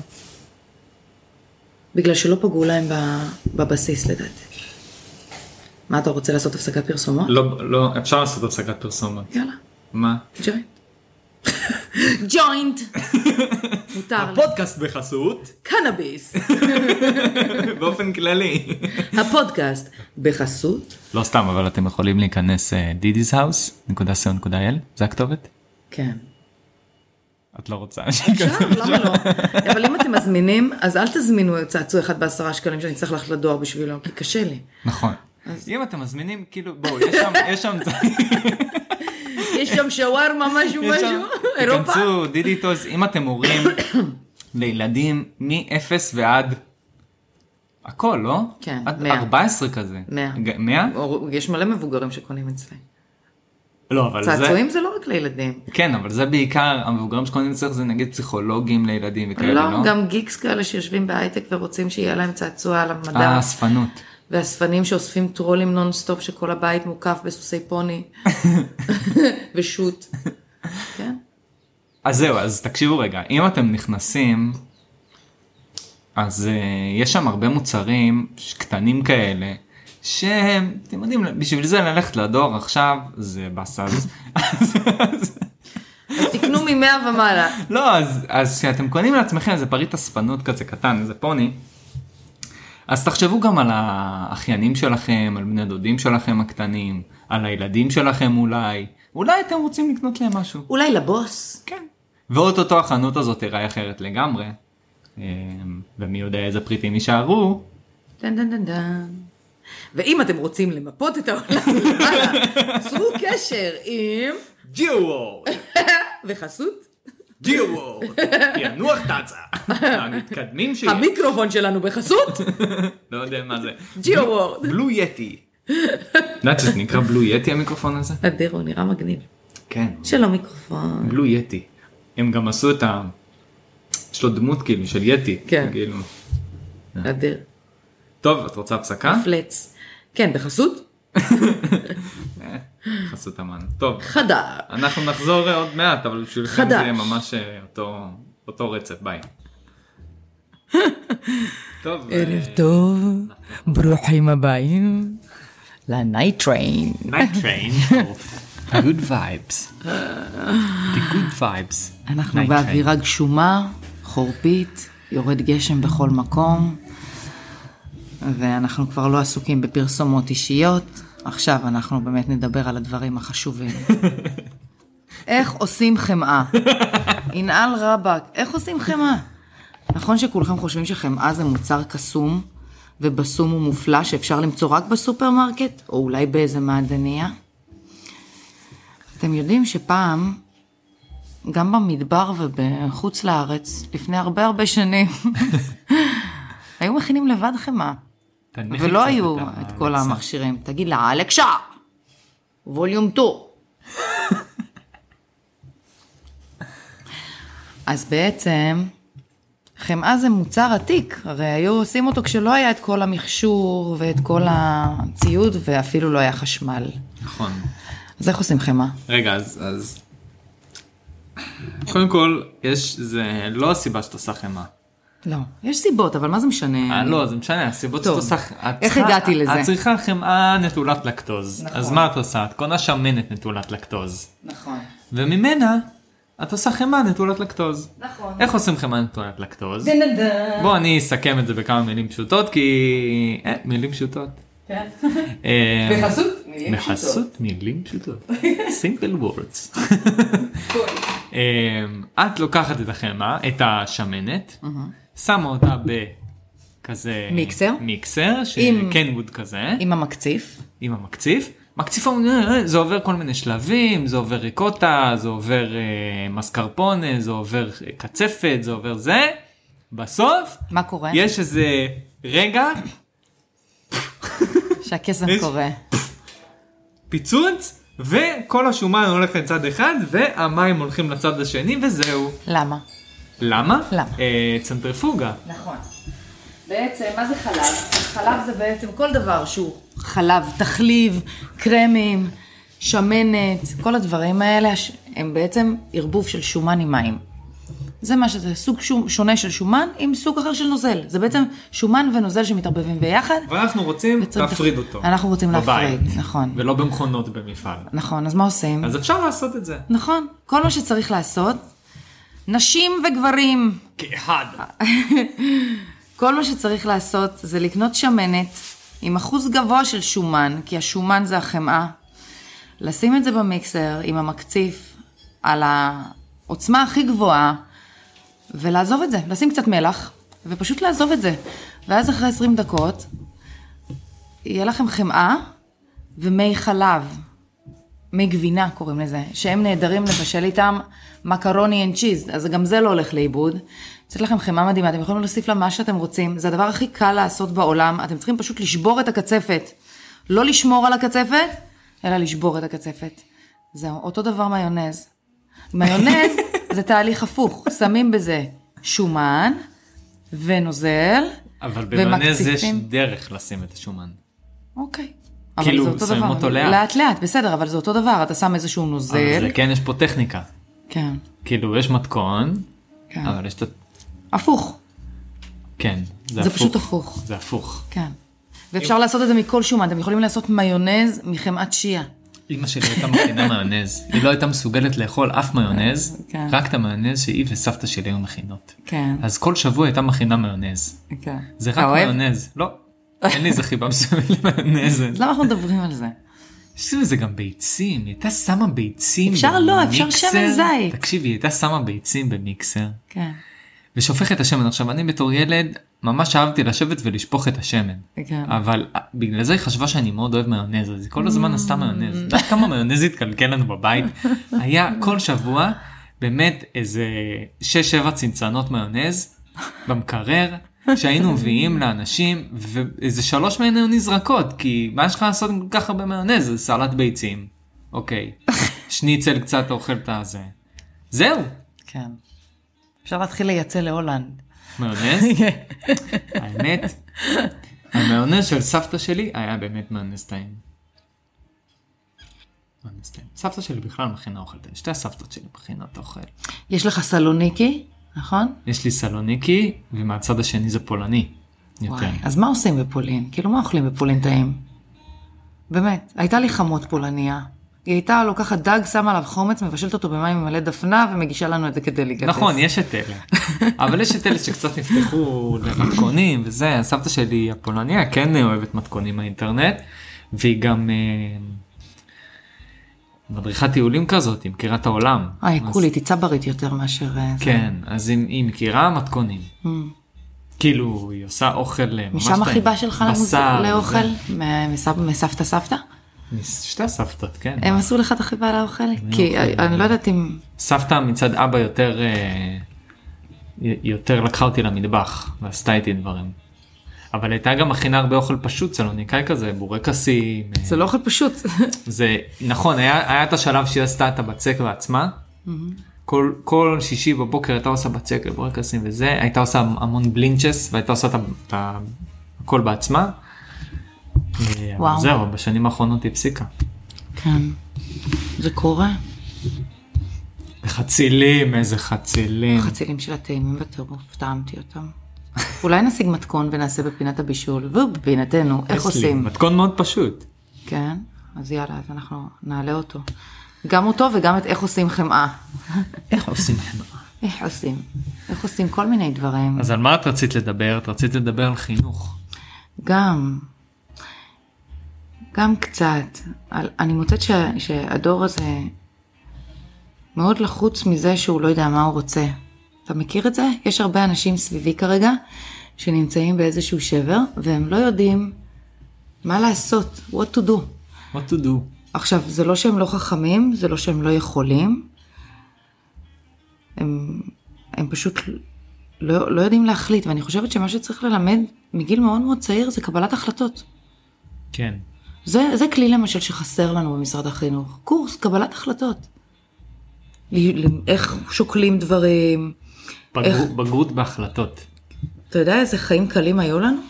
Speaker 1: בגלל שלא פגעו להם ב- בבסיס לדעתי. מה אתה רוצה לעשות הפסקת פרסומות?
Speaker 2: לא, לא, אפשר לעשות הפסקת פרסומת.
Speaker 1: יאללה,
Speaker 2: מה?
Speaker 1: ג'וינט. (laughs) ג'וינט! מותר לי.
Speaker 2: הפודקאסט בחסות,
Speaker 1: קנאביס.
Speaker 2: (laughs) באופן כללי.
Speaker 1: הפודקאסט בחסות.
Speaker 2: לא סתם, אבל אתם יכולים להיכנס אה, דידי's house.co.il, זה הכתובת?
Speaker 1: כן.
Speaker 2: את לא רוצה.
Speaker 1: אפשר, למה לא? אבל אם אתם מזמינים, אז אל תזמינו צעצוע אחד בעשרה שקלים שאני צריך ללכת לדואר בשבילו, כי קשה לי.
Speaker 2: נכון. אם אתם מזמינים, כאילו, בואו, יש שם,
Speaker 1: (laughs)
Speaker 2: יש שם,
Speaker 1: יש שם שווארמה, משהו,
Speaker 2: יש שם,
Speaker 1: משהו, אירופה?
Speaker 2: תיכנסו דידיטוס, אם אתם הורים לילדים מ-0 ועד, הכל, לא?
Speaker 1: כן,
Speaker 2: עד
Speaker 1: מאה.
Speaker 2: 14 כזה.
Speaker 1: מאה.
Speaker 2: 100?
Speaker 1: או- יש מלא מבוגרים שקונים אצלי.
Speaker 2: לא, אבל זה...
Speaker 1: צעצועים זה לא רק לילדים.
Speaker 2: כן, אבל זה בעיקר, המבוגרים שקונים צריך זה נגיד פסיכולוגים לילדים וכאלה, לא?
Speaker 1: לא, גם גיקס כאלה שיושבים בהייטק ורוצים שיהיה להם צעצוע על המדע,
Speaker 2: אה, אספנות.
Speaker 1: ואספנים שאוספים טרולים נונסטופ שכל הבית מוקף בסוסי
Speaker 2: (laughs)
Speaker 1: פוני, ושות. כן.
Speaker 2: אז זהו, אז תקשיבו רגע, אם אתם נכנסים, אז uh, יש שם הרבה מוצרים ש- קטנים כאלה, שהם, אתם יודעים, בשביל זה ללכת לדואר עכשיו, זה בסאז. אז, אז,
Speaker 1: אז תקנו מ-100 ומעלה.
Speaker 2: לא, אז, אז כשאתם קונים לעצמכם איזה פריט אספנות כזה קטן, איזה פוני, אז תחשבו גם על האחיינים שלכם, על בני דודים שלכם הקטנים, על הילדים שלכם אולי, אולי אתם רוצים לקנות להם משהו.
Speaker 1: אולי לבוס.
Speaker 2: כן. ואו-טו-טו החנות הזאת תיראה אחרת לגמרי, אמ, ומי יודע איזה פריטים יישארו,
Speaker 1: דן דן דן דן. ואם אתם רוצים למפות את העולם, למעלה, צרו קשר עם...
Speaker 2: ג'יווורד,
Speaker 1: וחסות?
Speaker 2: ג'יווורד, פענוח תצה, המתקדמים שלי,
Speaker 1: המיקרופון שלנו בחסות?
Speaker 2: לא יודע מה זה,
Speaker 1: ג'יו וורד.
Speaker 2: בלו יטי. יודעת שזה נקרא בלו יטי המיקרופון הזה?
Speaker 1: אדיר, הוא נראה מגניב.
Speaker 2: כן,
Speaker 1: שלום מיקרופון.
Speaker 2: בלו יטי. הם גם עשו את ה... יש לו דמות כאילו של יטי,
Speaker 1: כן.
Speaker 2: כאילו.
Speaker 1: אדיר.
Speaker 2: טוב, את רוצה הפסקה?
Speaker 1: פלץ. כן, בחסות?
Speaker 2: חסות המן. טוב,
Speaker 1: חדר.
Speaker 2: אנחנו נחזור אה, עוד מעט, אבל בשבילכם
Speaker 1: חדש.
Speaker 2: זה יהיה ממש אה, אותו, אותו רצף, ביי.
Speaker 1: (laughs)
Speaker 2: טוב, אה,
Speaker 1: טוב, ברוכים הבאים ל-Night Train.
Speaker 2: night train, good vibes, the good vibes.
Speaker 1: אנחנו
Speaker 2: Night
Speaker 1: באווירה גשומה, חורפית, יורד גשם בכל מקום, ואנחנו כבר לא עסוקים בפרסומות אישיות. עכשיו אנחנו באמת נדבר על הדברים החשובים. איך עושים חמאה? ינעל רבאק, איך עושים חמאה? נכון שכולכם חושבים שחמאה זה מוצר קסום, ובסום הוא מופלא שאפשר למצוא רק בסופרמרקט, או אולי באיזה מעדניה? אתם יודעים שפעם גם במדבר ובחוץ לארץ, לפני הרבה הרבה
Speaker 2: (laughs)
Speaker 1: שנים, היו מכינים לבד חמאה,
Speaker 2: תנמיכי
Speaker 1: ולא
Speaker 2: קצת
Speaker 1: היו
Speaker 2: ה-
Speaker 1: את כל המכשירים. תגיד לה, אלכשה, ווליום 2.
Speaker 2: (laughs)
Speaker 1: אז בעצם, חמאה זה מוצר עתיק, הרי היו עושים אותו כשלא היה את כל המכשור ואת כל הציוד, ואפילו לא היה חשמל.
Speaker 2: נכון.
Speaker 1: אז איך עושים חמאה?
Speaker 2: רגע, אז, אז... קודם כל, יש, זה לא הסיבה שאת עושה חמאה.
Speaker 1: לא. יש סיבות, אבל מה זה משנה?
Speaker 2: אה,
Speaker 1: אני-
Speaker 2: לא, זה משנה, הסיבות שאת
Speaker 1: טוב.
Speaker 2: עושה... את
Speaker 1: איך
Speaker 2: צריכה-
Speaker 1: הגעתי לזה?
Speaker 2: את צריכה חמאה נטולת לקטוז. אז מה את עושה? את קונה שמנת נטולת לקטוז.
Speaker 1: נכון.
Speaker 2: וממנה את עושה חמאה נטולת לקטוז.
Speaker 1: נכון.
Speaker 2: איך עושים חמאה נטולת לקטוז?
Speaker 1: דנדן.
Speaker 2: בוא אני אסכם את זה בכמה מילים פשוטות כי אה, מילים פשוטות.
Speaker 1: כן.
Speaker 2: אה,
Speaker 1: בחסות? מילים פשוטות.
Speaker 2: בחסות מילים
Speaker 1: (laughs)
Speaker 2: פשוטות. simple words. אה, את לוקחת את החמאה, את השמנת, שמה אותה בכזה
Speaker 1: מיקסר?
Speaker 2: מיקסר,
Speaker 1: עם-
Speaker 2: שקנווד כזה,
Speaker 1: עם המקציף.
Speaker 2: עם המקציף. מקציף אה, זה עובר כל מיני שלבים, זה עובר ריקוטה, זה עובר אה, מסקרפונה, זה עובר אה, קצפת, זה עובר זה. בסוף
Speaker 1: מה קורה?
Speaker 2: יש איזה רגע,
Speaker 1: שהקסם
Speaker 2: יש-
Speaker 1: קורה.
Speaker 2: פיצוץ, וכל השומן הולך לצד אחד, והמים הולכים לצד השני, וזהו.
Speaker 1: למה?
Speaker 2: למה?
Speaker 1: למה?
Speaker 2: אה, צנטריפוגה.
Speaker 1: נכון. בעצם, מה זה חלב? חלב זה בעצם כל דבר שהוא חלב, תחליב, קרמים, שמנת, כל הדברים האלה הש- הם בעצם ערבוב של שומן עם מים. זה מה שזה, סוג שום, שונה של שומן עם סוג אחר של נוזל. זה בעצם שומן ונוזל שמתערבבים ביחד.
Speaker 2: ואנחנו רוצים
Speaker 1: וצריך-
Speaker 2: להפריד אותו.
Speaker 1: אנחנו רוצים להפריד,
Speaker 2: בבית.
Speaker 1: נכון.
Speaker 2: ולא במכונות במפעל.
Speaker 1: נכון, אז מה עושים?
Speaker 2: אז אפשר לעשות את זה.
Speaker 1: נכון, כל מה שצריך לעשות, נשים וגברים,
Speaker 2: כאחד.
Speaker 1: כל מה שצריך לעשות זה לקנות שמנת עם אחוז גבוה של שומן, כי השומן זה החמאה, לשים את זה במיקסר עם המקציף על העוצמה הכי גבוהה, ולעזוב את זה, לשים קצת מלח, ופשוט לעזוב את זה. ואז אחרי 20 דקות, יהיה לכם חמאה ומי חלב. מי גבינה קוראים לזה, שהם נהדרים לבשל איתם מקרוני אנד צ'יז, אז גם זה לא הולך לאיבוד. יוצאת לכם חמאה מדהימה, אתם יכולים להוסיף לה מה שאתם רוצים, זה הדבר הכי קל לעשות בעולם, אתם צריכים פשוט לשבור את הקצפת. לא לשמור על הקצפת, אלא לשבור את הקצפת. זהו, אותו דבר מיונז.
Speaker 2: (laughs)
Speaker 1: מיונז זה תהליך הפוך, שמים בזה שומן ונוזל.
Speaker 2: אבל במיונז יש
Speaker 1: ומקציפים.
Speaker 2: דרך לשים את השומן.
Speaker 1: אוקיי. אבל
Speaker 2: כאילו,
Speaker 1: זה אותו
Speaker 2: שמים
Speaker 1: דבר.
Speaker 2: אותו לאט.
Speaker 1: לאט לאט, בסדר, אבל זה אותו דבר, אתה שם איזשהו נוזל.
Speaker 2: אבל זה כן, יש פה טכניקה.
Speaker 1: כן,
Speaker 2: כאילו, יש מתכון,
Speaker 1: כן.
Speaker 2: אבל יש את... ה-
Speaker 1: הפוך,
Speaker 2: כן, זה הפוך.
Speaker 1: זה פשוט הפוך.
Speaker 2: זה הפוך.
Speaker 1: כן. ואפשר לעשות את זה מכל שומן, אתם יכולים לעשות מיונז מחמאת שיעה.
Speaker 2: אמא שלי הייתה מכינה מיונז, היא לא הייתה מסוגלת לאכול אף מיונז,
Speaker 1: כן.
Speaker 2: רק את המיונז שהיא וסבתא שלי היו מכינות.
Speaker 1: כן,
Speaker 2: אז כל שבוע הייתה מכינה מיונז.
Speaker 1: כן.
Speaker 2: זה רק
Speaker 1: אתה אוהב?
Speaker 2: מיונז.
Speaker 1: (laughs)
Speaker 2: לא, אין לי איזה חיבה מסוימת למיונז.
Speaker 1: אז למה אנחנו מדברים על זה?
Speaker 2: יש לזה גם ביצים, היא הייתה שמה ביצים
Speaker 1: אפשר לא, אפשר
Speaker 2: במיקסר.
Speaker 1: שמן זית.
Speaker 2: תקשיבי, היא הייתה שמה ביצים במיקסר,
Speaker 1: כן,
Speaker 2: ושופכת את השמן. עכשיו, אני בתור ילד ממש אהבתי לשבת ולשפוך את השמן.
Speaker 1: כן.
Speaker 2: אבל אה, בגלל זה היא חשבה שאני מאוד אוהב מיונז, אז היא כל הזמן עשתה מיונז. את יודעת כמה מיונז התקלקל לנו בבית? היה כל שבוע באמת איזה 6-7 צנצנות מיונז במקרר, שהיינו מביאים לאנשים, ואיזה שלוש מהן היו נזרקות, כי מה יש לך לעשות עם כל כך הרבה מיונז? זה סלט ביצים. אוקיי. שניצל קצת אוכל את הזה. זהו,
Speaker 1: כן. אפשר להתחיל לייצא להולנד. (laughs)
Speaker 2: מיונז.
Speaker 1: כן.
Speaker 2: האמת, המיונז של סבתא שלי היה באמת מיונז טעים. מיונז טעים. סבתא שלי בכלל מכינה אוכל טעים, שתי הסבתות שלי מכינות אוכל.
Speaker 1: יש לך סלוניקי, נכון?
Speaker 2: יש לי סלוניקי, ומהצד השני זה פולני. יותר.
Speaker 1: וואי, אז מה עושים בפולין? כאילו, מה אוכלים בפולין טעים? באמת, הייתה לי חמות פולניה. היא הייתה לוקחת דג, שמה עליו חומץ, מבשלת אותו במים מלא דפנה, ומגישה לנו את זה כדליקטס.
Speaker 2: נכון, יש את אלה. אבל יש את אלה שקצת נפתחו למתכונים וזה, סבתא שלי הפולניה כן אוהבת מתכונים מהאינטרנט, והיא גם אה, מדריכת טיולים כזאת, היא מכירה את העולם.
Speaker 1: איי,
Speaker 2: אז-
Speaker 1: כולי, היא צברית יותר מאשר... אה, זה. Mm.
Speaker 2: כן, אז היא, היא מכירה מתכונים. כאילו, היא עושה אוכל אה, ממש...
Speaker 1: משם
Speaker 2: טעים.
Speaker 1: החיבה שלך למוז-
Speaker 2: בשר,
Speaker 1: לאוכל?
Speaker 2: זה.
Speaker 1: מ- מסב- מסבתא סבתא?
Speaker 2: משתי הסבתות, כן.
Speaker 1: הם עשו לך את החיבה לאוכל? כי
Speaker 2: אוכל.
Speaker 1: אה, אני לא יודעת אם...
Speaker 2: סבתא מצד אבא יותר, אה, י- יותר לקחה אותי למטבח ועשתה איתי דברים. אבל הייתה גם מכינה הרבה אוכל פשוט סלוניקאי כזה, בורקסים. אה,
Speaker 1: זה לא אוכל פשוט.
Speaker 2: זה נכון, היה, היה את השלב שהיא עשתה את הבצק בעצמה. כל, כל שישי בבוקר הייתה עושה בצק לבורקסים וזה, הייתה עושה המון בלינצ'ס והייתה עושה את ה- את ה- הכל בעצמה. אה, אבל
Speaker 1: וואו.
Speaker 2: זהו, בשנים האחרונות היא הפסיקה.
Speaker 1: כן. זה קורה.
Speaker 2: חצילים, איזה חצילים.
Speaker 1: החצילים של הטעימים בטירוף, טעמתי אותם. אולי נשיג מתכון ונעשה בפינת הבישול, ובפינתנו, איך
Speaker 2: יש לי
Speaker 1: עושים?
Speaker 2: מתכון מאוד פשוט.
Speaker 1: כן, אז יאללה, אז אנחנו נעלה אותו. גם אותו וגם את איך עושים חמאה.
Speaker 2: איך עושים חמאה?
Speaker 1: איך עושים? איך עושים כל מיני דברים.
Speaker 2: (laughs) אז על מה את רצית לדבר? את רצית לדבר על חינוך.
Speaker 1: גם, גם קצת. על, אני מוצאת ש, שהדור הזה מאוד לחוץ מזה שהוא לא יודע מה הוא רוצה. אתה מכיר את זה? יש הרבה אנשים סביבי כרגע שנמצאים באיזשהו שבר, והם לא יודעים מה לעשות, what to do.
Speaker 2: What to do?
Speaker 1: עכשיו, זה לא שהם לא חכמים, זה לא שהם לא יכולים. הם, הם פשוט לא, לא יודעים להחליט, ואני חושבת שמה שצריך ללמד מגיל מאוד מאוד צעיר זה קבלת החלטות.
Speaker 2: כן.
Speaker 1: זה, זה כלי למשל שחסר לנו במשרד החינוך, קורס קבלת החלטות. ל- ל- איך שוקלים דברים, איך-
Speaker 2: בגרות- בגרות בהחלטות.
Speaker 1: אתה יודע איזה חיים קלים היו לנו?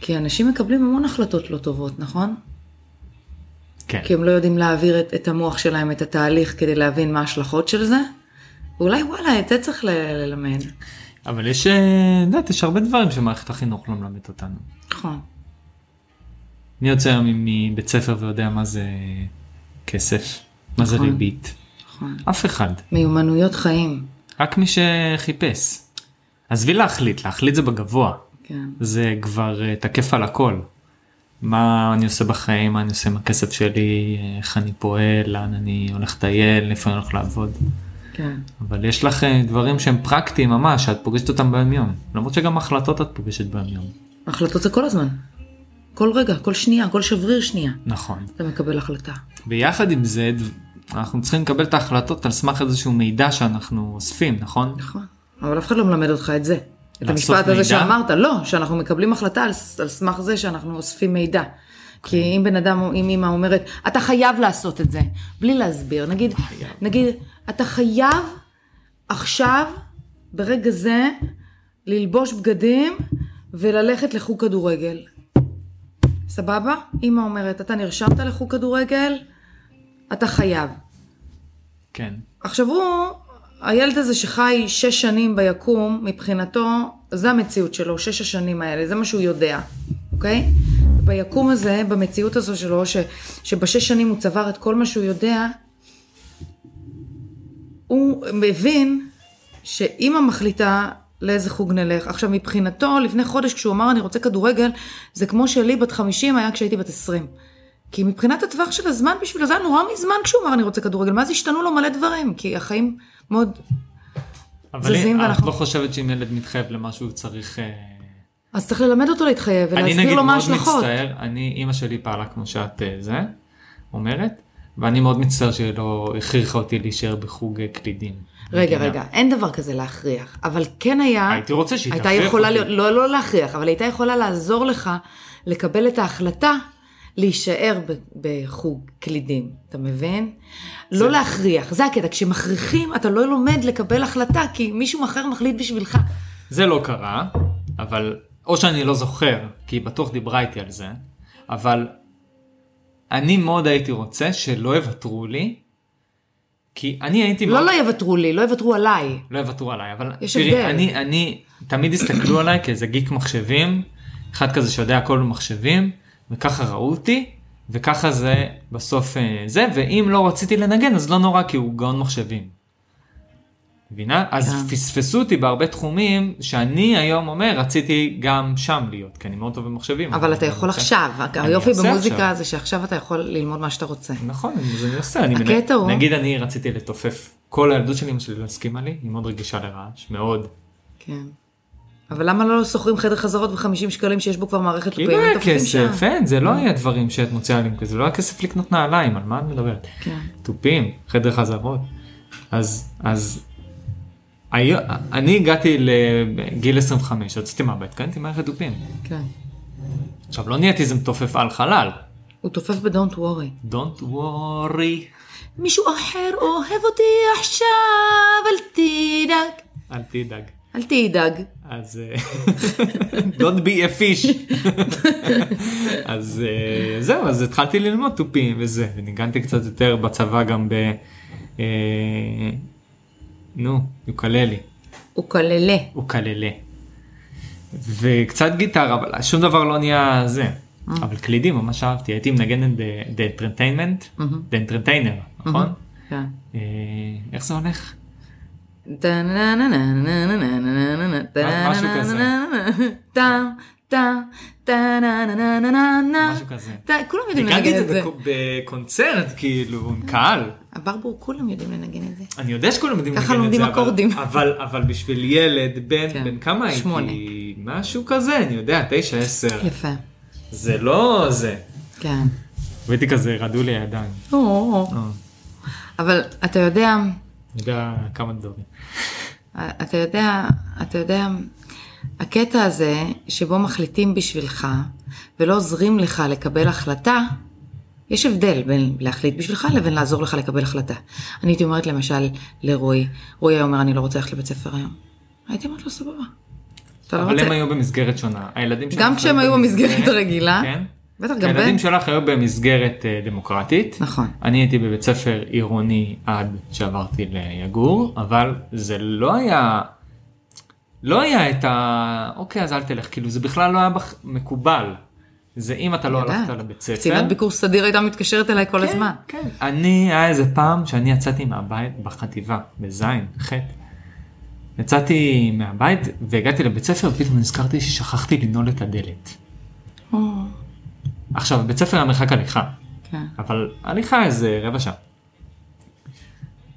Speaker 1: כי אנשים מקבלים המון החלטות לא טובות, נכון?
Speaker 2: כן.
Speaker 1: כי הם לא יודעים להעביר את, את המוח שלהם, את התהליך, כדי להבין מה ההשלכות של זה. אולי וואלה, את זה צריך ל- ללמד.
Speaker 2: אבל יש, אה, את יודעת, יש הרבה דברים שמערכת החינוך לא מלמדת אותנו.
Speaker 1: נכון.
Speaker 2: מי יוצא היום מבית ספר ויודע מה זה כסף? מה זה
Speaker 1: נכון.
Speaker 2: ריבית?
Speaker 1: נכון.
Speaker 2: אף אחד.
Speaker 1: מיומנויות חיים.
Speaker 2: רק מי שחיפש. עזבי להחליט, להחליט זה בגבוה.
Speaker 1: כן.
Speaker 2: זה כבר אה, תקף על הכל. מה אני עושה בחיים, מה אני עושה עם הכסף שלי, אה, איך אני פועל, לאן אני הולך לטייל, איפה אני הולך לעבוד.
Speaker 1: כן.
Speaker 2: אבל יש לך אה, דברים שהם פרקטיים ממש, שאת פוגשת אותם ביומיום. למרות שגם החלטות את פוגשת ביומיום.
Speaker 1: החלטות זה כל הזמן. כל רגע, כל שנייה, כל שבריר שנייה.
Speaker 2: נכון.
Speaker 1: אתה מקבל החלטה.
Speaker 2: ביחד עם זה, דב- אנחנו צריכים לקבל את ההחלטות על סמך איזשהו מידע שאנחנו אוספים, נכון?
Speaker 1: נכון. אבל אף אחד לא מלמד אותך את זה. את
Speaker 2: לאסוף
Speaker 1: המשפט הזה
Speaker 2: מידע?
Speaker 1: שאמרת, לא, שאנחנו מקבלים החלטה על, ס- על סמך זה שאנחנו אוספים מידע. כי אם בן אדם, אם אימא אומרת, אתה חייב לעשות את זה, בלי להסביר. נגיד, נגיד, אתה חייב עכשיו, ברגע זה, ללבוש בגדים וללכת לחוג כדורגל. סבבה? אימא אומרת, אתה נרשמת לחוג כדורגל, אתה חייב.
Speaker 2: כן.
Speaker 1: עכשיו הוא, הילד הזה שחי שש שנים ביקום, מבחינתו, זה המציאות שלו, שש השנים האלה, זה מה שהוא יודע, אוקיי? ביקום הזה, במציאות הזו שלו, ש, שבשש שנים הוא צבר את כל מה שהוא יודע, הוא מבין שאימא מחליטה לאיזה חוג נלך. עכשיו, מבחינתו, לפני חודש כשהוא אמר אני רוצה כדורגל, זה כמו שלי בת 50 היה כשהייתי בת 20. כי מבחינת הטווח של הזמן בשבילו, זה היה נורא מזמן כשהוא אמר אני רוצה כדורגל, מאז השתנו לו מלא דברים, כי החיים מאוד...
Speaker 2: אבל
Speaker 1: זזים
Speaker 2: אם- את
Speaker 1: ואנחנו-
Speaker 2: לא חושבת שאם ילד מתחייב למשהו הוא צריך... אה,
Speaker 1: אז צריך ללמד אותו להתחייב
Speaker 2: אני
Speaker 1: ולהסביר
Speaker 2: נגיד
Speaker 1: לו מה
Speaker 2: מאוד
Speaker 1: ההשלכות.
Speaker 2: מצטער, אני, אימא שלי פעלה כמו שאת אה, זה, אומרת, ואני מאוד מצטער שלא הכריחה אותי להישאר בחוג אה, קלידים.
Speaker 1: רגע,
Speaker 2: בגינה.
Speaker 1: רגע, אין דבר כזה להכריח, אבל כן היה...
Speaker 2: הייתי רוצה אה, שהיא
Speaker 1: הייתה
Speaker 2: תכריח
Speaker 1: יכולה
Speaker 2: אותי.
Speaker 1: להיות, לא, לא להכריח, אבל הייתה יכולה לעזור לך לקבל את ההחלטה להישאר ב- בחוג קלידים, אתה מבין? לא להכריח, זה הקטע, כשמכריחים אתה לא לומד לקבל החלטה, כי מישהו אחר מחליט בשבילך.
Speaker 2: זה לא קרה, אבל, או שאני לא זוכר, כי היא בטוח דיברה איתי על זה, אבל אני מאוד הייתי רוצה שלא יוותרו לי, כי אני הייתי...
Speaker 1: לא,
Speaker 2: מאוד-
Speaker 1: לא יוותרו לי, לא יוותרו עליי.
Speaker 2: לא יוותרו עליי, אבל
Speaker 1: יש
Speaker 2: תראי,
Speaker 1: הבדל.
Speaker 2: אני, אני, תמיד הסתכלו עליי כאיזה גיק מחשבים, אחד כזה שיודע הכל במחשבים, וככה ראו אותי, וככה זה בסוף אה, זה, ואם לא רציתי לנגן אז לא נורא כי הוא גאון מחשבים. מבינה? אז
Speaker 1: כן.
Speaker 2: פספסו אותי בהרבה תחומים שאני היום אומר רציתי גם שם להיות, כי אני מאוד טוב במחשבים.
Speaker 1: אבל אתה
Speaker 2: אני
Speaker 1: יכול
Speaker 2: רוצה-
Speaker 1: עכשיו,
Speaker 2: אוקיי. אני
Speaker 1: היופי
Speaker 2: אעשה
Speaker 1: במוזיקה
Speaker 2: עכשיו.
Speaker 1: זה שעכשיו אתה יכול ללמוד מה שאתה רוצה.
Speaker 2: נכון, אז אני עושה, אני מנ...
Speaker 1: הקטע הוא-
Speaker 2: נגיד אני רציתי לתופף, כל הילדות שלי, אמא שלי לא הסכימה לי, היא מאוד רגישה לרעש, מאוד.
Speaker 1: כן. אבל למה לא שוכרים חדר חזרות ב-50 שקלים שיש בו כבר מערכת
Speaker 2: כי לא
Speaker 1: לפעמים
Speaker 2: היה
Speaker 1: תופסים
Speaker 2: כסף,
Speaker 1: שם? כן.
Speaker 2: אין, זה לא היה דברים שאת מוציאה לי, זה לא היה כסף לקנות נעליים, על מה את מדברת?
Speaker 1: כן.
Speaker 2: תופים, חדר חזרות. אז, אז, היו- אני הגעתי לגיל 25, יצאתי מהבית, קניתי מערכת תופים.
Speaker 1: כן.
Speaker 2: עכשיו, לא נהייתי איזה מתופף על חלל.
Speaker 1: הוא תופף ב-Don't worry.
Speaker 2: Don't worry,
Speaker 1: מישהו אחר אוהב אותי עכשיו, אל תדאג.
Speaker 2: אל תדאג.
Speaker 1: אל תדאג.
Speaker 2: אז אה, Don't be a fish. אז אה, זהו, אז התחלתי ללמוד תופים וזה, וניגנתי קצת יותר בצבא גם ב... אה, נו, יוקללי,
Speaker 1: הוא כללה.
Speaker 2: אוקללה. וקצת גיטרה, אבל שום דבר לא נהיה זה. אבל קלידים ממש אהבתי, הייתי מנגנת ב-The Entertainment, The Entertainer, נכון?
Speaker 1: כן.
Speaker 2: אה, איך זה הולך?
Speaker 1: משהו
Speaker 2: כזה.
Speaker 1: טה, טה, טה, נה, נה, נה, נה, נה, נה.
Speaker 2: משהו כזה.
Speaker 1: טה, כולם יודעים
Speaker 2: ניגנתי
Speaker 1: לנגן
Speaker 2: את
Speaker 1: את זה.
Speaker 2: זה בק- בקונצרט, כאילו, עם קהל.
Speaker 1: הברבור, כולם יודעים לנגן את זה.
Speaker 2: אני יודע שכולם יודעים
Speaker 1: ככה
Speaker 2: לנגן את
Speaker 1: לומדים
Speaker 2: זה, אבל-
Speaker 1: אקורדים.
Speaker 2: אבל, אבל בשביל ילד בן,
Speaker 1: כן.
Speaker 2: בן כמה הייתי?
Speaker 1: שמונה. כן.
Speaker 2: משהו כזה, אני יודע, תשע, עשר.
Speaker 1: יפה.
Speaker 2: זה לא זה.
Speaker 1: כן.
Speaker 2: והייתי כזה, רעדו לי הידיים.
Speaker 1: או, או, או.
Speaker 2: אה,
Speaker 1: אבל אתה יודע,
Speaker 2: אני יודע כמה דברים.
Speaker 1: אתה יודע, אתה יודע, הקטע הזה שבו מחליטים בשבילך ולא עוזרים לך לקבל החלטה, יש הבדל בין להחליט בשבילך לבין לעזור לך לקבל החלטה. אני הייתי אומרת למשל לרועי, רועי היה אומר אני לא רוצה ללכת לבית ספר היום. הייתי אומרת לו סבבה. אתה לא
Speaker 2: אבל
Speaker 1: רוצה...
Speaker 2: הם היו במסגרת שונה. הילדים שלך
Speaker 1: גם כשהם היו במסגרת הרגילה,
Speaker 2: כן.
Speaker 1: בטח גם בן.
Speaker 2: הילדים שלך היו במסגרת אה, דמוקרטית.
Speaker 1: נכון.
Speaker 2: אני הייתי בבית ספר עירוני עד שעברתי ליגור, אבל זה לא היה, לא היה את ה... אוקיי, אז אל תלך, כאילו זה בכלל לא היה בח... מקובל. זה אם אתה לא
Speaker 1: יודעת.
Speaker 2: הלכת לבית ספר.
Speaker 1: קצינת ביקור סדיר הייתה מתקשרת אליי כל
Speaker 2: כן,
Speaker 1: הזמן.
Speaker 2: כן. אני, היה איזה פעם שאני יצאתי מהבית בחטיבה, בזין, חטא. יצאתי מהבית והגעתי לבית ספר ופתאום נזכרתי ששכחתי לנעול את הדלת.
Speaker 1: או,
Speaker 2: עכשיו, בית ספר היה מרחק הליכה.
Speaker 1: כן.
Speaker 2: אבל הליכה איזה רבע שעה.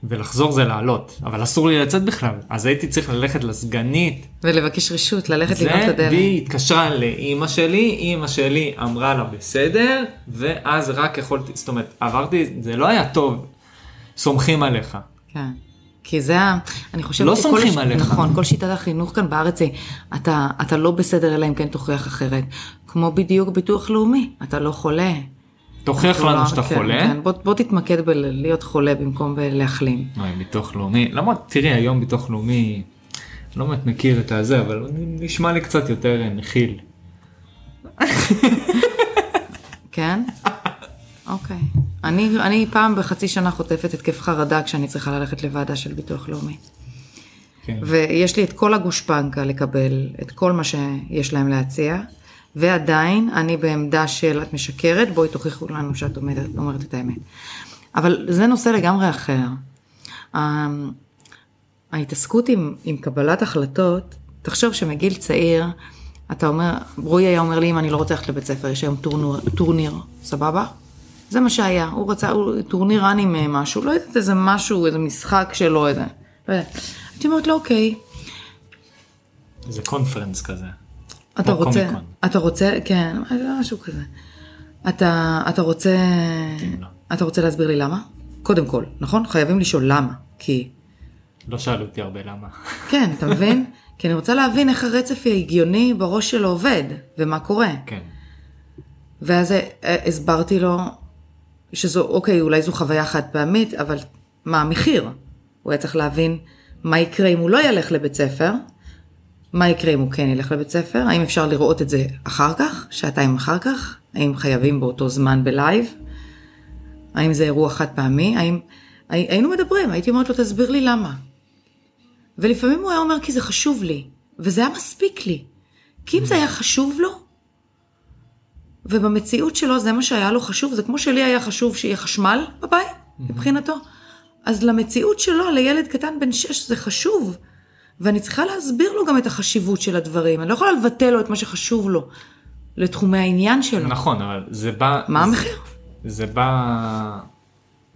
Speaker 2: ולחזור זה לעלות, אבל אסור לי לצאת בכלל, אז הייתי צריך ללכת לסגנית.
Speaker 1: ולבקש רשות ללכת לבנות את
Speaker 2: זה,
Speaker 1: הדלת.
Speaker 2: והיא התקשרה לאימא שלי, אימא שלי אמרה לה בסדר, ואז רק יכולתי, זאת אומרת, עברתי, זה לא היה טוב, סומכים עליך.
Speaker 1: כן. כי זה ה... אני חושבת
Speaker 2: לא
Speaker 1: שכל
Speaker 2: סומכים
Speaker 1: הש-
Speaker 2: עליך.
Speaker 1: נכון, כל שיטת החינוך כאן בארץ היא, אתה, אתה לא בסדר אלא אם כן תוכיח אחרת. כמו בדיוק ביטוח לאומי, אתה לא חולה.
Speaker 4: תוכיח
Speaker 1: אתה לא-
Speaker 4: לנו שאתה
Speaker 1: כן,
Speaker 4: חולה.
Speaker 1: כן, בוא, בוא תתמקד בלהיות חולה במקום בלהחלים.
Speaker 2: אוי, ביטוח לאומי, למרות, תראי, היום ביטוח לאומי, לא באמת מכיר את הזה, אבל הוא נשמע לי קצת יותר אה, מכיל.
Speaker 4: (laughs)
Speaker 1: כן? אוקיי. אני, אני פעם בחצי שנה חוטפת התקף חרדה כשאני צריכה ללכת לוועדה של ביטוח לאומי.
Speaker 2: כן.
Speaker 1: ויש לי את כל הגושפנקה לקבל, את כל מה שיש להם להציע, ועדיין אני בעמדה של את משקרת, בואי תוכיחו לנו שאת עומדת, אומרת את האמת. אבל זה נושא לגמרי אחר. ה- ההתעסקות עם, עם קבלת החלטות, תחשוב שמגיל צעיר, אתה אומר, רועי היה אומר לי, אם אני לא רוצה ללכת לבית ספר, יש היום טורניר, טורניר סבבה? זה מה שהיה, הוא רצה, הוא, טורניר אנימה משהו, לא יודעת איזה משהו, איזה משחק שלו, איזה, לא יודעת. הייתי אומרת לו, אוקיי,
Speaker 2: זה קונפרנס כזה.
Speaker 1: אתה
Speaker 2: כמו
Speaker 1: רוצה,
Speaker 2: קומיקון.
Speaker 1: אתה רוצה, כן, משהו כזה. אתה, אתה רוצה,
Speaker 2: כן, לא.
Speaker 1: אתה רוצה להסביר לי למה? קודם כל, נכון? חייבים לשאול למה, כי
Speaker 2: לא שאלו אותי הרבה למה.
Speaker 1: כן, אתה
Speaker 2: (laughs)
Speaker 1: מבין? כי אני רוצה להבין איך הרצף ההגיוני בראש שלו עובד, ומה קורה.
Speaker 2: כן.
Speaker 1: ואז אה, הסברתי לו שזו, אוקיי, אולי זו חוויה חד פעמית, אבל מה המחיר? הוא היה צריך להבין מה יקרה אם הוא לא ילך לבית ספר, מה יקרה אם הוא כן ילך לבית ספר, האם אפשר לראות את זה אחר כך, שעתיים אחר כך, האם חייבים באותו זמן בלייב, האם זה אירוע חד פעמי, האם... הי- היינו מדברים, הייתי אומרת לו, תסביר לי למה. ולפעמים הוא היה אומר, כי זה חשוב לי, וזה היה מספיק לי. כי אם זה היה חשוב לו, ובמציאות שלו זה מה שהיה לו חשוב, זה כמו שלי היה חשוב שיהיה חשמל בבית, מבחינתו. אז למציאות שלו, לילד קטן בן שש, זה חשוב. ואני צריכה להסביר לו גם את החשיבות של הדברים. אני לא יכולה לבטל לו את מה שחשוב לו, לתחומי העניין שלו.
Speaker 2: נכון, אבל זה בא...
Speaker 1: מה המחיר?
Speaker 2: זה בא...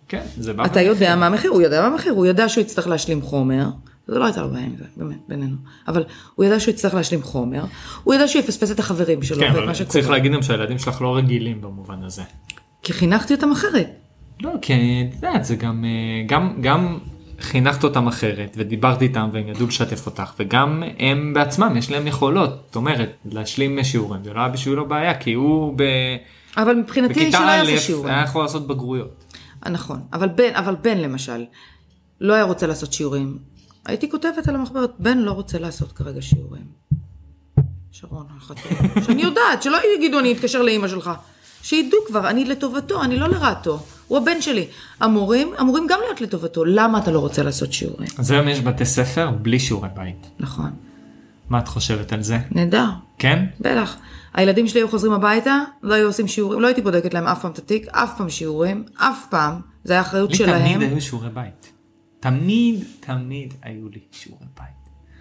Speaker 2: כן, זה בא...
Speaker 1: אתה יודע מה המחיר, הוא יודע מה המחיר, הוא יודע שהוא יצטרך להשלים חומר. זה לא הייתה לו בעיה עם זה, באמת, בינינו. אבל הוא ידע שהוא יצטרך להשלים חומר, הוא ידע שהוא יפספס את החברים שלו
Speaker 2: כן,
Speaker 1: ואת
Speaker 2: אבל
Speaker 1: מה שקורה.
Speaker 2: צריך להגיד גם שהילדים שלך לא רגילים במובן הזה.
Speaker 1: כי חינכתי אותם אחרת.
Speaker 2: לא, כי את יודעת, זה גם, אה, גם, גם חינכת אותם אחרת, ודיברת איתם והם ידעו לשתף אותך, וגם הם בעצמם, יש להם יכולות. זאת אומרת, להשלים שיעורים, זה לא היה בשבילו בעיה, כי הוא ב...
Speaker 1: אבל מבחינתי
Speaker 2: בכיתה
Speaker 1: שלא יעשה
Speaker 2: א'
Speaker 1: שיעורים.
Speaker 2: היה יכול לעשות בגרויות.
Speaker 1: נכון, אבל בן, אבל בן למשל, לא היה רוצה לעשות שיעורים. הייתי כותבת על המחברת, בן לא רוצה לעשות כרגע שיעורים. שרון, אחת, לא. (laughs) שאני יודעת, שלא יגידו אני אתקשר לאימא שלך. שידעו כבר, אני לטובתו, אני לא לרעתו. הוא הבן שלי. המורים אמורים גם להיות לטובתו. למה אתה לא רוצה לעשות שיעורים?
Speaker 2: אז היום יש בתי ספר בלי שיעורי בית.
Speaker 1: נכון.
Speaker 2: מה את חושבת על זה?
Speaker 1: נהדר,
Speaker 2: כן?
Speaker 1: בטח. הילדים שלי היו חוזרים הביתה, לא היו עושים שיעורים, לא הייתי בודקת להם אף פעם את התיק, אף פעם שיעורים, אף פעם. זה היה אחריות
Speaker 2: לי
Speaker 1: שלהם.
Speaker 2: תמיד היו שיעורי בית. תמיד, תמיד היו לי שיעורי בית.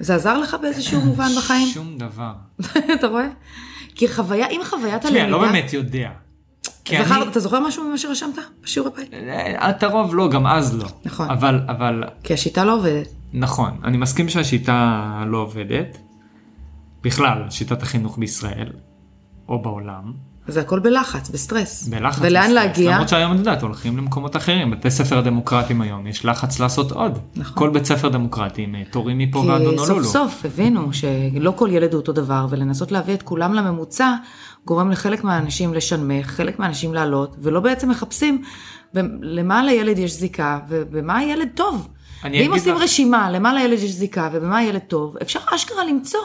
Speaker 1: זה עזר לך באיזשהו מובן בחיים?
Speaker 2: שום דבר.
Speaker 1: (laughs) אתה רואה? כי חוויה, אם חוויית
Speaker 2: תשמעי,
Speaker 1: הלמידה...
Speaker 2: אני לא באמת יודע. כי
Speaker 1: זכר-
Speaker 2: אני-
Speaker 1: אתה זוכר משהו ממה שרשמת בשיעור הבית?
Speaker 2: את הרוב לא, גם אז לא.
Speaker 1: נכון.
Speaker 2: אבל, אבל,
Speaker 1: כי השיטה לא עובדת.
Speaker 2: נכון, אני מסכים שהשיטה לא עובדת. בכלל, שיטת החינוך בישראל, או בעולם,
Speaker 1: זה הכל בלחץ, בסטרס.
Speaker 2: בלחץ.
Speaker 1: ולאן
Speaker 2: מסוים.
Speaker 1: להגיע?
Speaker 2: למרות שהיום, את יודעת, הולכים למקומות אחרים. בתי ספר דמוקרטיים היום, יש לחץ לעשות עוד.
Speaker 1: נכון.
Speaker 2: כל בית ספר דמוקרטי עם אה, תורים מפה ועד
Speaker 1: כי
Speaker 2: הונולולו.
Speaker 1: סוף סוף הבינו שלא כל ילד הוא אותו דבר, ולנסות להביא את כולם לממוצע גורם לחלק מהאנשים לשנמך, חלק מהאנשים לעלות, ולא בעצם מחפשים ב- למה לילד יש זיקה ובמה הילד טוב.
Speaker 2: אני
Speaker 1: ואם
Speaker 2: אגיד
Speaker 1: עושים
Speaker 2: לך-
Speaker 1: רשימה למה לילד יש זיקה ובמה הילד טוב, אפשר אשכרה למצוא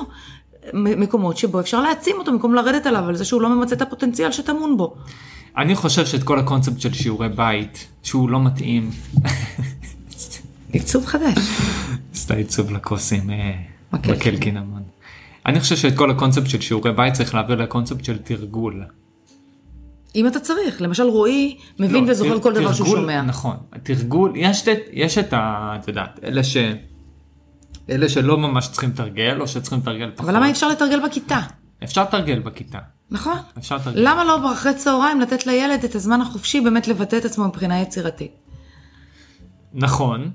Speaker 1: מ- מקומות שבו אפשר להעצים אותו במקום לרדת עליו על זה שהוא לא ממצה את הפוטנציאל שטמון בו.
Speaker 2: אני חושב שאת כל הקונספט של שיעורי בית, שהוא לא מתאים, (laughs)
Speaker 1: עיצוב חדש.
Speaker 2: עשתה עיצוב לכוס עם אה,
Speaker 1: מקל.
Speaker 2: מקל קינמון. אני חושב שאת כל הקונספט של שיעורי בית צריך להעביר לקונספט של תרגול.
Speaker 1: אם אתה צריך, למשל רועי מבין
Speaker 2: לא,
Speaker 1: וזוכר
Speaker 2: תר-
Speaker 1: כל דבר שהוא
Speaker 2: תרגול,
Speaker 1: שומע.
Speaker 2: נכון, תרגול, יש, את- יש את ה... את יודעת, אלה ש... אלה שלא ממש צריכים לתרגל, או שצריכים לתרגל פחות.
Speaker 1: אבל למה אי אפשר לתרגל בכיתה?
Speaker 2: אפשר לתרגל בכיתה.
Speaker 1: נכון.
Speaker 2: אפשר לתרגל.
Speaker 1: למה לא אחרי צהריים לתת לילד את הזמן החופשי באמת לבטא את עצמו מבחינה יצירתית?
Speaker 2: נכון,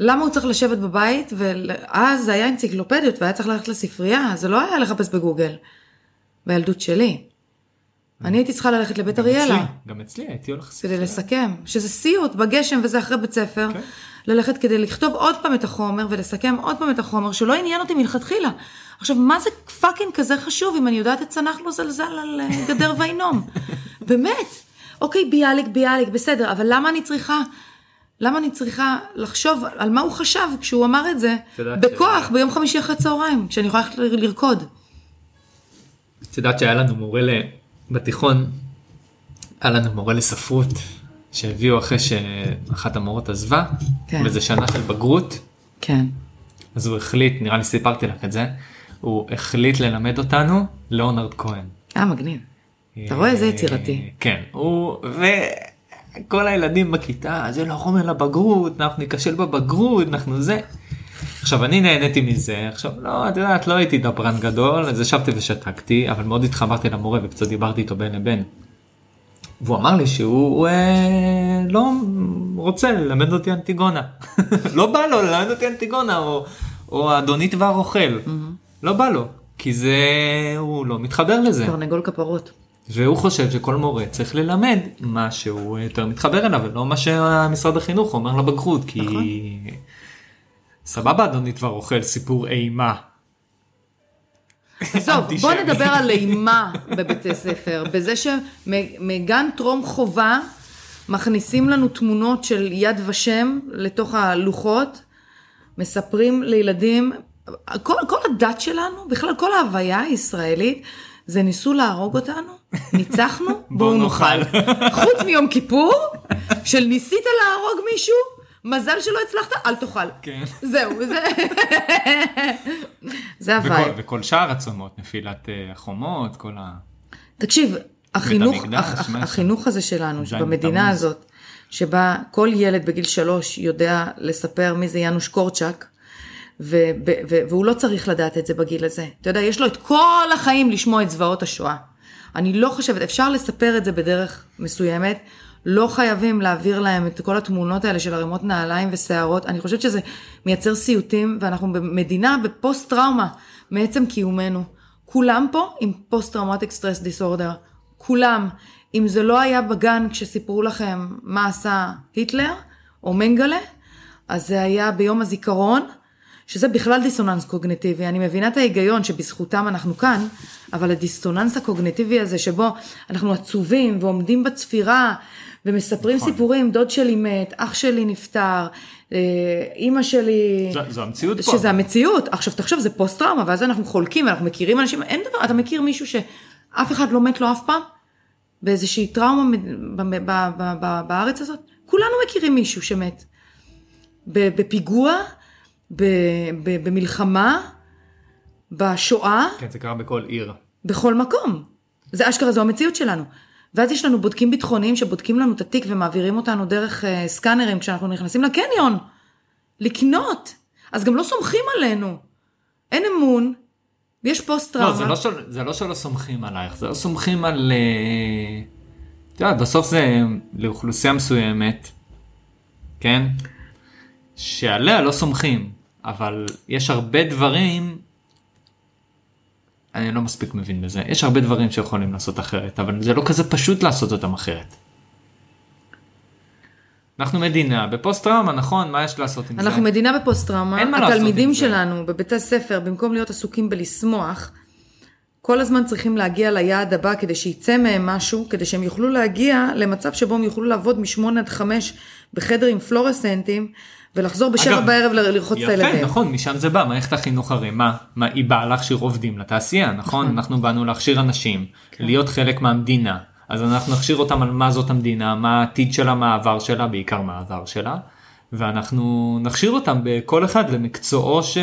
Speaker 1: למה הוא צריך לשבת בבית, ואז זה היה אנציקלופדיות והיה צריך ללכת לספרייה, זה לא היה לחפש בגוגל. בילדות שלי. אני הייתי צריכה ללכת לבית אריאלה.
Speaker 2: אצלי, אה. גם אצלי הייתי הולך לספר.
Speaker 1: כדי לסכם, שזה סיוט בגשם וזה אחרי בית ספר,
Speaker 2: כן.
Speaker 1: ללכת כדי לכתוב עוד פעם את החומר ולסכם עוד פעם את החומר שלא עניין אותי מלכתחילה. עכשיו, מה זה פאקינג כזה חשוב אם אני יודעת את צנח לא זלזל על אה, גדר והינום? (laughs) באמת. אוקיי, ביאליק, ביאליק, בסדר, אבל למה אני צריכה... למה אני צריכה לחשוב על מה הוא חשב כשהוא אמר את זה
Speaker 2: יודעת ש-
Speaker 1: בכוח ביום חמישי אחרי צהריים, כשאני יכולה ללכת ל- לרקוד?
Speaker 2: את יודעת שהיה לנו מורה ל... בתיכון, היה לנו מורה לספרות שהביאו אחרי שאחת המורות עזבה,
Speaker 1: כן.
Speaker 2: וזה שנה של בגרות,
Speaker 1: כן.
Speaker 2: אז הוא החליט, נראה לי סיפרתי לך את זה, הוא החליט ללמד אותנו ליאונרד כהן.
Speaker 1: אה, מגניב. אתה רואה? זה יצירתי.
Speaker 2: אה, כן, הוא וכל הילדים בכיתה, זה לא חומר לבגרות, אנחנו ניכשל בבגרות, אנחנו זה. עכשיו אני נהניתי מזה, עכשיו לא, את יודעת, לא הייתי דברן גדול, אז ישבתי ושתקתי, אבל מאוד התחברתי למורה וקצת דיברתי איתו בין לבין. והוא אמר לי שהוא אה, לא רוצה ללמד אותי אנטיגונה. (laughs) לא בא לו ללמד אותי אנטיגונה או, או האדונית והרוכל. לא בא לו, כי זה, הוא לא מתחבר לזה.
Speaker 1: תרנגול כפרות.
Speaker 2: והוא חושב שכל מורה צריך ללמד מה שהוא יותר מתחבר אליו ולא מה שמשרד החינוך אומר לבגרות כי
Speaker 1: נכון.
Speaker 2: סבבה אדוני כבר אוכל סיפור אימה.
Speaker 1: עזוב, בוא
Speaker 2: אנטישמי.
Speaker 1: נדבר על אימה בבתי ספר, בזה שמגן טרום חובה מכניסים לנו תמונות של יד ושם לתוך הלוחות, מספרים לילדים, כל, כל הדת שלנו, בכלל כל ההוויה הישראלית, זה ניסו להרוג אותנו,
Speaker 2: (laughs)
Speaker 1: ניצחנו, בואו נאכל. חוץ מיום כיפור, של ניסית להרוג מישהו, מזל שלא הצלחת, אל תאכל.
Speaker 2: כן.
Speaker 1: זהו, זה... (laughs) זה
Speaker 2: וכל,
Speaker 1: הווייב.
Speaker 2: וכל שאר הצומות נפילת אה, החומות כל ה...
Speaker 1: תקשיב, החינוך,
Speaker 2: המקדש,
Speaker 1: הח- הח-
Speaker 2: מה זה?
Speaker 1: החינוך הזה שלנו,
Speaker 2: זין
Speaker 1: במדינה
Speaker 2: בתמוז.
Speaker 1: הזאת, שבה כל ילד בגיל שלוש יודע לספר מי זה יאנוש קורצ'אק, ו- ו- ו- והוא לא צריך לדעת את זה בגיל הזה. אתה יודע, יש לו את כל החיים לשמוע את זוועות השואה. אני לא חושבת, אפשר לספר את זה בדרך מסוימת. לא חייבים להעביר להם את כל התמונות האלה של ערימות נעליים ושערות. אני חושבת שזה מייצר סיוטים, ואנחנו במדינה בפוסט טראומה מעצם קיומנו. כולם פה עם פוסט טראומטיק סטרס דיסורדר. כולם. אם זה לא היה בגן כשסיפרו לכם מה עשה היטלר או מנגלה, אז זה היה ביום הזיכרון, שזה בכלל דיסוננס קוגניטיבי. אני מבינה את ההיגיון שבזכותם אנחנו כאן, אבל הדיסוננס הקוגניטיבי הזה שבו אנחנו עצובים ועומדים בצפירה ומספרים נכון. סיפורים, דוד שלי מת, אח שלי נפטר, אה, אימא שלי...
Speaker 2: זו, זו המציאות פה.
Speaker 1: שזה המציאות. עכשיו תחשוב, זה פוסט טראומה, ואז אנחנו חולקים, אנחנו מכירים אנשים, אין דבר, אתה מכיר מישהו שאף אחד לא מת לו אף פעם? באיזושהי טראומה ב- ב- ב- ב- ב- בארץ הזאת? כולנו מכירים מישהו שמת. ב- בפיגוע, ב- ב- במלחמה, בשואה,
Speaker 2: כן זה קרה בכל עיר.
Speaker 1: בכל מקום. זה אשכרה, זו המציאות שלנו. ואז יש לנו בודקים ביטחוניים שבודקים לנו את התיק ומעבירים אותנו דרך אה, סקאנרים כשאנחנו נכנסים לקניון, לקנות. אז גם לא סומכים עלינו. אין אמון, יש פוסט טראומה.
Speaker 2: לא, זה, לא של, זה לא שלא סומכים עלייך זה לא סומכים על. אה, את יודעת בסוף זה לאוכלוסייה מסוימת. כן? שעליה לא סומכים אבל יש הרבה דברים. אני לא מספיק מבין בזה יש הרבה דברים שיכולים לעשות אחרת אבל זה לא כזה פשוט לעשות אותם אחרת. אנחנו מדינה בפוסט טראומה נכון מה יש לעשות עם
Speaker 1: אנחנו
Speaker 2: זה?
Speaker 1: מדינה בפוסט טראומה,
Speaker 2: אין מה לעשות עם
Speaker 1: התלמידים
Speaker 2: זה.
Speaker 1: שלנו בבית הספר, במקום להיות עסוקים בלשמוח, כל הזמן צריכים להגיע ליעד הבא כדי שיצא מהם משהו, כדי שהם יוכלו להגיע למצב שבו הם יוכלו לעבוד משמונה עד חמש בחדר עם פלורסנטים, ולחזור בשבע
Speaker 2: אגב,
Speaker 1: בערב ל- לרחוץ את
Speaker 2: יפה,
Speaker 1: הילדים.
Speaker 2: נכון, משם זה בא, מערכת החינוך הרי מה? מה היא באה להכשיר עובדים לתעשייה, נכון? אנחנו באנו להכשיר אנשים,
Speaker 1: כן.
Speaker 2: להיות חלק מהמדינה, אז אנחנו נכשיר אותם על מה זאת המדינה, מה העתיד שלה, מה העבר שלה, בעיקר מה העבר שלה, ואנחנו נכשיר אותם בכל אחד למקצועו, ש...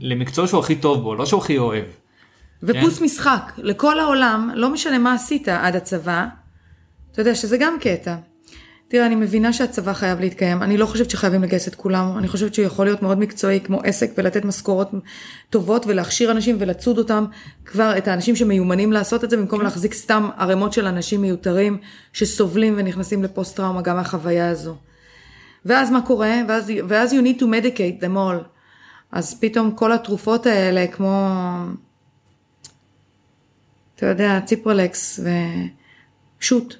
Speaker 2: למקצוע שהוא הכי טוב בו, לא שהוא
Speaker 1: (laughs)
Speaker 2: הכי אוהב.
Speaker 1: ופוס משחק לכל העולם, לא משנה מה עשית עד הצבא, אתה יודע שזה גם קטע. תראה, אני מבינה שהצבא חייב להתקיים, אני לא חושבת שחייבים לגייס את כולם, אני חושבת שהוא יכול להיות מאוד מקצועי כמו עסק ולתת משכורות טובות ולהכשיר אנשים ולצוד אותם, כבר את האנשים שמיומנים לעשות את זה, במקום להחזיק סתם ערימות של אנשים מיותרים שסובלים ונכנסים לפוסט טראומה גם מהחוויה הזו. ואז מה קורה? ואז, ואז you need to medicate them all. אז פתאום כל התרופות האלה, כמו אתה יודע, ציפרלקס ושוט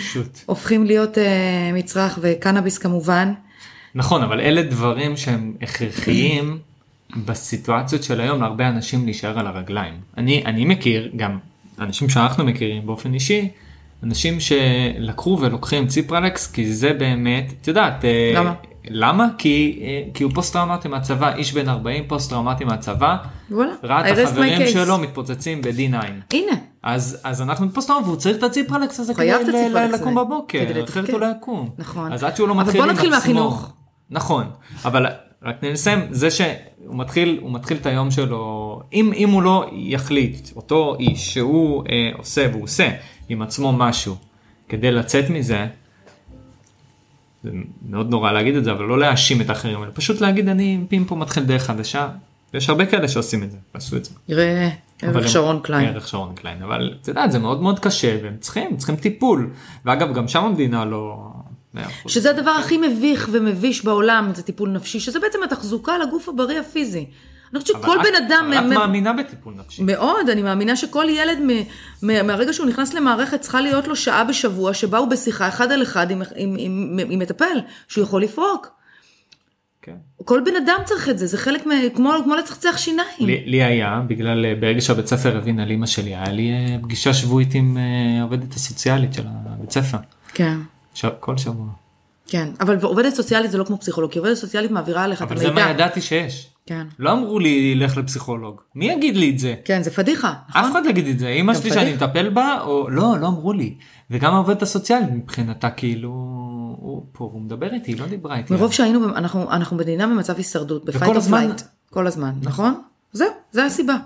Speaker 2: פשוט.
Speaker 1: הופכים להיות אה, מצרך וקנאביס כמובן.
Speaker 2: נכון, אבל אלה דברים שהם הכרחיים בסיטואציות של היום להרבה אנשים להישאר על הרגליים. אני, אני מכיר, גם אנשים שאנחנו מכירים באופן אישי, אנשים שלקחו ולוקחים ציפרלקס כי זה באמת, את יודעת, אה,
Speaker 1: למה?
Speaker 2: למה? כי, אה, כי הוא פוסט טראומטי מהצבא, איש בן 40 פוסט טראומטי מהצבא,
Speaker 1: וואלה,
Speaker 2: ראה את
Speaker 1: I rest my
Speaker 2: החברים
Speaker 1: case.
Speaker 2: שלו מתפוצצים ב-D9.
Speaker 1: הנה,
Speaker 2: אז, אז אנחנו בפוסט טראומה והוא צריך את הציפרלקס הזה
Speaker 1: חייב
Speaker 2: כדי
Speaker 1: את הציפרלקס
Speaker 2: ל- לקום
Speaker 1: הזה, כדי
Speaker 2: בבוקר, אחרת
Speaker 1: לתפקד.
Speaker 2: הוא לא יקום.
Speaker 1: נכון.
Speaker 2: אז עד שהוא לא
Speaker 1: אבל
Speaker 2: מתחיל עם
Speaker 1: בוא נתחיל
Speaker 2: עצמו.
Speaker 1: מהחינוך.
Speaker 2: נכון, אבל רק נסיים, זה שהוא מתחיל, הוא מתחיל את היום שלו, אם, אם הוא לא יחליט, אותו איש שהוא אה, עושה והוא עושה עם עצמו משהו כדי לצאת מזה, זה מאוד נורא להגיד את זה, אבל לא להאשים את האחרים, אלא פשוט להגיד אני מפה מתחיל דרך חדשה, ויש הרבה כאלה שעושים את זה, עשו את זה.
Speaker 1: יראה
Speaker 2: אבל
Speaker 1: ערך
Speaker 2: הם- כן.
Speaker 1: שרון קליין.
Speaker 2: ערך שרון קליין, אבל את יודעת, זה מאוד מאוד קשה, והם צריכים, צריכים טיפול. ואגב, גם שם המדינה לא... מאה אחוז.
Speaker 1: שזה הדבר הכי מביך ומביש בעולם, זה טיפול נפשי, שזה בעצם התחזוקה לגוף הבריא הפיזי. אני חושבת
Speaker 2: אבל
Speaker 1: שכל
Speaker 2: את-
Speaker 1: בן אדם...
Speaker 2: אבל את
Speaker 1: מ- מ-
Speaker 2: מאמינה בטיפול נפשי.
Speaker 1: מאוד, אני מאמינה שכל ילד מ, מ, מהרגע שהוא נכנס למערכת צריכה להיות לו שעה בשבוע שבה הוא בשיחה אחד על אחד עם, עם, עם, עם, עם מטפל, שהוא יכול לפרוק.
Speaker 2: כן.
Speaker 1: כל בן אדם צריך את זה, זה חלק, מה, כמו, כמו לצחצח שיניים.
Speaker 2: לי לי היה, בגלל, אה, ברגע שהבית ספר הבין על אימא שלי, היה לי אה, פגישה שבועית עם אה, העובדת הסוציאלית של הבית ספר.
Speaker 1: כן,
Speaker 2: ש- כל שבוע.
Speaker 1: כן, אבל עובדת סוציאלית זה לא כמו פסיכולוג, כי עובדת סוציאלית מעבירה עליך את
Speaker 2: אבל
Speaker 1: המידע.
Speaker 2: זה מה ידעתי שיש.
Speaker 1: כן.
Speaker 2: לא אמרו לי, לך לפסיכולוג. מי יגיד לי את זה?
Speaker 1: כן, זה פדיחה.
Speaker 2: אף אחד לא יגיד את זה, אמא
Speaker 1: גם
Speaker 2: שלי
Speaker 1: פדיחה.
Speaker 2: שאני מטפל בה, או לא, לא אמרו לי. וגם העובדת הסוציאלית מבחינתה כאילו, הוא פה, הוא מדבר איתי, היא לא דיברה איתי.
Speaker 1: מרוב שהיינו, במ- אנחנו, אנחנו מדינה במצב הישרדות,
Speaker 2: וכל
Speaker 1: בפייט
Speaker 2: הזמן-
Speaker 1: ופלייט. כל הזמן, נכון? זהו, זה הסיבה.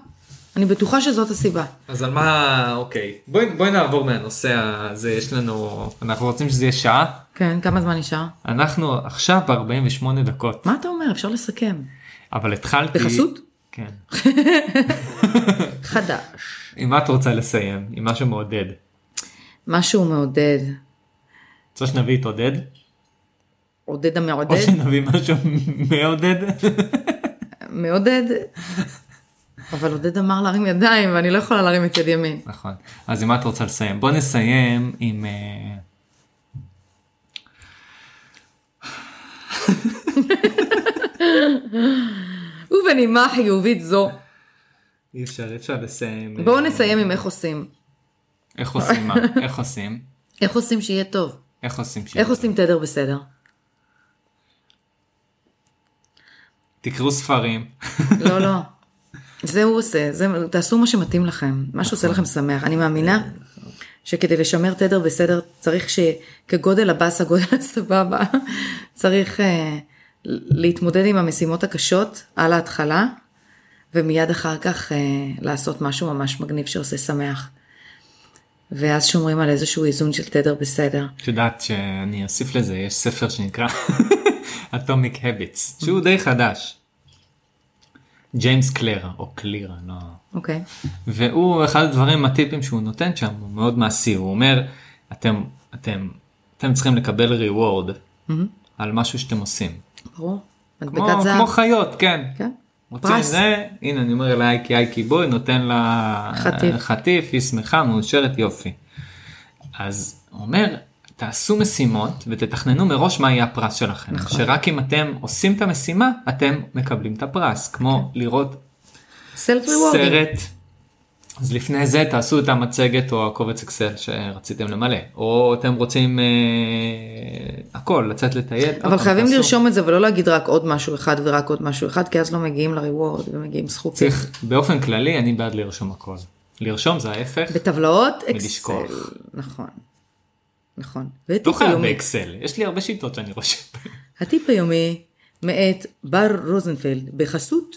Speaker 1: אני בטוחה שזאת הסיבה.
Speaker 2: אז על מה, אוקיי, בואי בואי נעבור מהנושא הזה, יש לנו, אנחנו רוצים שזה יהיה שעה,
Speaker 1: כן, כמה זמן נשאר?
Speaker 2: אנחנו עכשיו ב-48 דקות,
Speaker 1: מה אתה אומר? אפשר לסכם.
Speaker 2: אבל התחלתי...
Speaker 1: בחסות?
Speaker 2: כן.
Speaker 1: חדש.
Speaker 2: עם מה את רוצה לסיים? עם משהו מעודד.
Speaker 1: משהו מעודד.
Speaker 2: רוצה שנביא את עודד?
Speaker 1: עודד
Speaker 2: או
Speaker 1: המעודד?
Speaker 2: שנביא משהו מעודד?
Speaker 1: מעודד. אבל עודד אמר להרים ידיים ואני לא יכולה להרים את יד ימין.
Speaker 2: נכון. אז עם מה את רוצה לסיים? בוא נסיים עם... אה,
Speaker 1: ובנימה חיובית זו,
Speaker 2: אי אפשר, אי אפשר לסיים.
Speaker 1: בואו
Speaker 2: אה,
Speaker 1: נסיים עם איך עושים.
Speaker 2: איך
Speaker 1: (laughs)
Speaker 2: עושים מה? איך עושים?
Speaker 1: איך עושים שיהיה טוב?
Speaker 2: איך עושים שיעור?
Speaker 1: איך עושים תדר בסדר?
Speaker 2: תקראו ספרים.
Speaker 1: לא, לא. זה הוא עושה, זה, תעשו מה שמתאים לכם, מה שעושה לכם שמח. אני מאמינה שכדי לשמר תדר בסדר, צריך שכגודל הבאסה, גודל הסבבה, צריך אה, להתמודד עם המשימות הקשות על ההתחלה, ומיד אחר כך אה, לעשות משהו ממש מגניב שעושה שמח. ואז שומרים על איזשהו איזון של תדר בסדר.
Speaker 2: את יודעת שאני אוסיף לזה, יש ספר שנקרא (laughs) Atomic Habits, שהוא די חדש. ג'יימס קלר, או קליר, אני לא...
Speaker 1: אוקיי.
Speaker 2: והוא אחד הדברים הטיפים שהוא נותן שם הוא מאוד מעשי הוא אומר אתם אתם אתם צריכים לקבל ריוורד על משהו שאתם עושים
Speaker 1: ברור.
Speaker 2: כמו,
Speaker 1: מדבקת זהב.
Speaker 2: כמו חיות כן.
Speaker 1: כן.
Speaker 2: רוצים
Speaker 1: פרס.
Speaker 2: זה הנה אני אומר לאייקי אייקי בואי נותן לה
Speaker 1: חטיף.
Speaker 2: חטיף היא שמחה מאושרת יופי. אז הוא אומר תעשו משימות ותתכננו מראש מה יהיה הפרס שלכם
Speaker 1: נכון.
Speaker 2: שרק אם אתם עושים את המשימה אתם מקבלים את הפרס כמו
Speaker 1: כן.
Speaker 2: לראות
Speaker 1: סלף ריוורדינג.
Speaker 2: סרט. אז לפני זה תעשו את המצגת או הקובץ אקסל שרציתם למלא, או אתם רוצים אה, הכל, לצאת לטייל. עוד
Speaker 1: אבל
Speaker 2: פעם,
Speaker 1: חייבים
Speaker 2: תעשו.
Speaker 1: לרשום את זה ולא להגיד רק עוד משהו אחד ורק עוד משהו אחד, כי אז לא מגיעים לריוורד ומגיעים זכותים.
Speaker 2: צריך, באופן כללי אני בעד לרשום הכל. לרשום זה ההפך,
Speaker 1: בטבלאות אקסל.
Speaker 2: ולשכוח.
Speaker 1: נכון. נכון.
Speaker 2: לא
Speaker 1: והטיפ
Speaker 2: חייב
Speaker 1: היומי,
Speaker 2: באקסל, יש לי הרבה שיטות שאני
Speaker 5: (laughs)
Speaker 2: רושם.
Speaker 1: הטיפ היומי מאת בר רוזנפלד בחסות.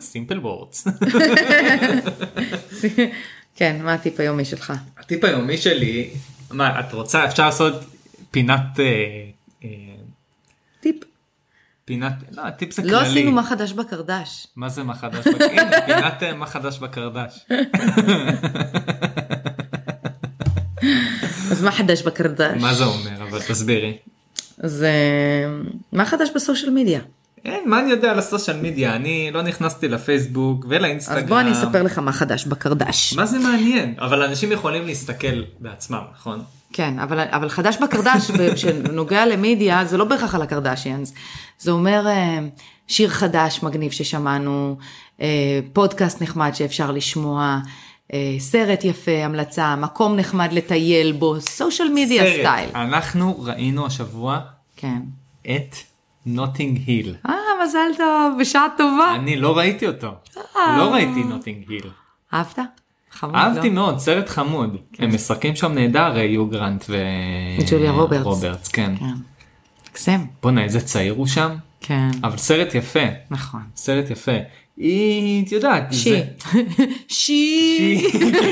Speaker 2: סימפל וורדס.
Speaker 1: כן, מה הטיפ היומי שלך?
Speaker 2: הטיפ היומי שלי, מה את רוצה אפשר לעשות פינת, אה, אה,
Speaker 1: טיפ.
Speaker 2: פינת, לא הטיפ זה כללי.
Speaker 1: לא עשינו מה חדש בקרדש.
Speaker 2: מה זה מה חדש בקרדש?
Speaker 5: (laughs)
Speaker 2: הנה, פינת אה, מה חדש בקרדש.
Speaker 1: אז מה חדש בקרדש?
Speaker 2: מה זה אומר אבל תסבירי.
Speaker 1: זה... מה חדש בסושיאל מדיה?
Speaker 5: (laughs) אין, מה אני יודע על הסושיאל מדיה? אני לא נכנסתי לפייסבוק ולאינסטגרם.
Speaker 1: אז בוא אני אספר לך מה חדש בקרדש.
Speaker 5: מה זה מעניין? אבל אנשים יכולים להסתכל בעצמם, נכון?
Speaker 1: כן, אבל, אבל חדש בקרדש, ב- (laughs) שנוגע למידיה, זה לא בהכרח על הקרדשיאנס. זה אומר אה, שיר חדש מגניב ששמענו, אה, פודקאסט נחמד שאפשר לשמוע, אה, סרט יפה, המלצה, מקום נחמד לטייל בו, סושיאל מדיה
Speaker 5: סרט.
Speaker 1: סטייל.
Speaker 2: אנחנו ראינו השבוע
Speaker 1: כן.
Speaker 2: את נוטינג היל.
Speaker 1: אה, מזל טוב, בשעה טובה.
Speaker 2: אני לא ראיתי אותו. לא ראיתי נוטינג היל.
Speaker 1: אהבת? חמוד,
Speaker 2: אהבתי
Speaker 1: אה. לא? כן.
Speaker 2: מאוד, סרט חמוד. הם משחקים שם נהדר, אה, יו גרנט ו...
Speaker 1: ג'וליה רוברטס.
Speaker 2: רוברטס, כן.
Speaker 1: כן. מקסם.
Speaker 2: בואנה, איזה צעיר הוא שם.
Speaker 1: כן,
Speaker 2: אבל סרט יפה.
Speaker 1: נכון.
Speaker 2: סרט יפה. היא, את יודעת,
Speaker 1: שי. (laughs)
Speaker 2: זה...
Speaker 1: שי.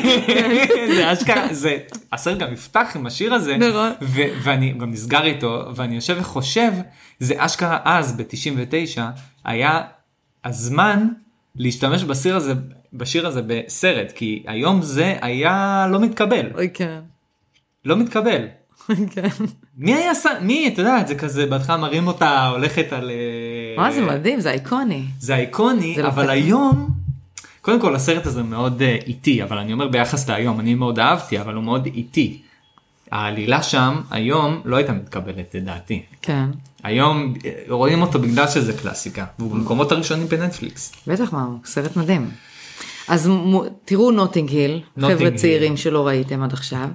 Speaker 2: (laughs) זה אשכרה, זה, הסרט גם נפתח עם השיר הזה,
Speaker 1: נכון.
Speaker 2: ו- ואני גם נסגר איתו, ואני יושב וחושב, זה אשכרה אז, ב-99, היה הזמן להשתמש בשיר הזה, בשיר הזה בסרט, כי היום זה היה לא מתקבל,
Speaker 1: אוי, כן.
Speaker 2: לא מתקבל.
Speaker 1: כן.
Speaker 2: מי היה ס... מי, את יודעת, זה כזה, בהתחלה מראים אותה הולכת על... אה,
Speaker 1: מה זה מדהים, זה איקוני.
Speaker 2: זה איקוני,
Speaker 1: זה לא
Speaker 2: אבל
Speaker 1: פתאום.
Speaker 2: היום, קודם כל הסרט הזה מאוד אה, איטי, אבל אני אומר ביחס להיום, אני מאוד אהבתי, אבל הוא מאוד איטי. העלילה שם היום לא הייתה מתקבלת לדעתי.
Speaker 1: כן.
Speaker 2: היום אה, רואים אותו בגלל שזה קלאסיקה, והוא במקומות הראשונים בנטפליקס.
Speaker 1: בטח מה, הוא סרט מדהים. אז מ- תראו נוטינג היל,
Speaker 2: נוטינג
Speaker 1: חבר'ה
Speaker 2: היל. כן.
Speaker 1: צעירים שלא ראיתם עד עכשיו,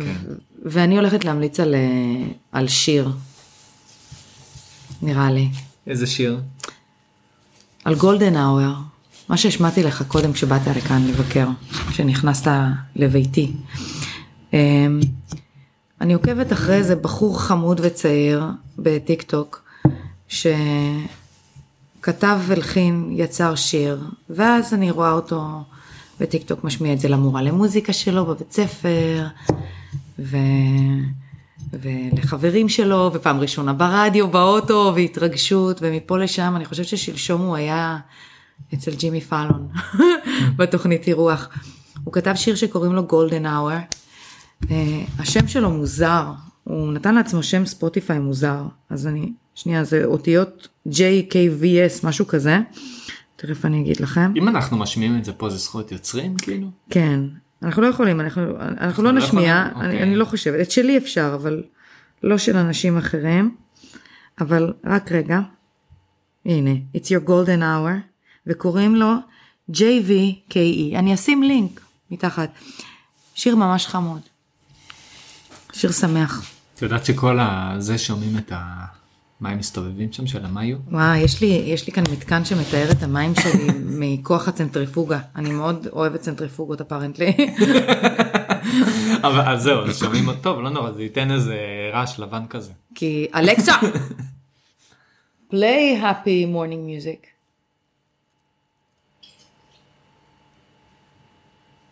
Speaker 1: ו- ואני הולכת להמליץ על, אה, על שיר, נראה לי,
Speaker 2: איזה שיר?
Speaker 1: על גולדן האואר, מה שהשמעתי לך קודם כשבאת לכאן לבקר, כשנכנסת לביתי. אמ, אני עוקבת אחרי איזה בחור חמוד וצעיר בטיק טוק, שכתב והלחין, יצר שיר, ואז אני רואה אותו בטיק טוק משמיע את זה למורה למוזיקה שלו בבית ספר, ו... ולחברים שלו, ופעם ראשונה ברדיו, באוטו, והתרגשות, ומפה לשם, אני חושבת ששלשום הוא היה אצל ג'ימי פאלון, (laughs) בתוכנית אירוח. הוא כתב שיר שקוראים לו גולדן האואר. אה, השם שלו מוזר, הוא נתן לעצמו שם ספוטיפיי מוזר, אז אני, שנייה, זה אותיות JKVS, משהו כזה, תכף אני אגיד לכם.
Speaker 2: אם אנחנו משמיעים את זה פה זה זכויות יוצרים כאילו?
Speaker 1: כן, אנחנו לא יכולים, אנחנו, אנחנו לא
Speaker 2: לא
Speaker 1: נשמיע,
Speaker 2: יכולים?
Speaker 1: אני,
Speaker 2: אוקיי.
Speaker 1: אני לא חושבת, את שלי אפשר, אבל לא של אנשים אחרים, אבל רק רגע, הנה, it's your golden hour, וקוראים לו JVKE, E. אני אשים לינק מתחת, שיר ממש חמוד, שיר שמח.
Speaker 2: את יודעת שכל ה- זה שומעים את ה... מה הם מסתובבים שם של המאיו?
Speaker 1: וואי, יש לי, יש לי כאן מתקן שמתאר את המים שלי מכוח הצנטריפוגה. אני מאוד אוהבת צנטריפוגות אפרנטלי.
Speaker 2: אבל אז זהו, אז שומעים אותו, טוב, לא נורא, זה ייתן איזה רעש לבן כזה.
Speaker 1: כי אלכסה! play happy morning music.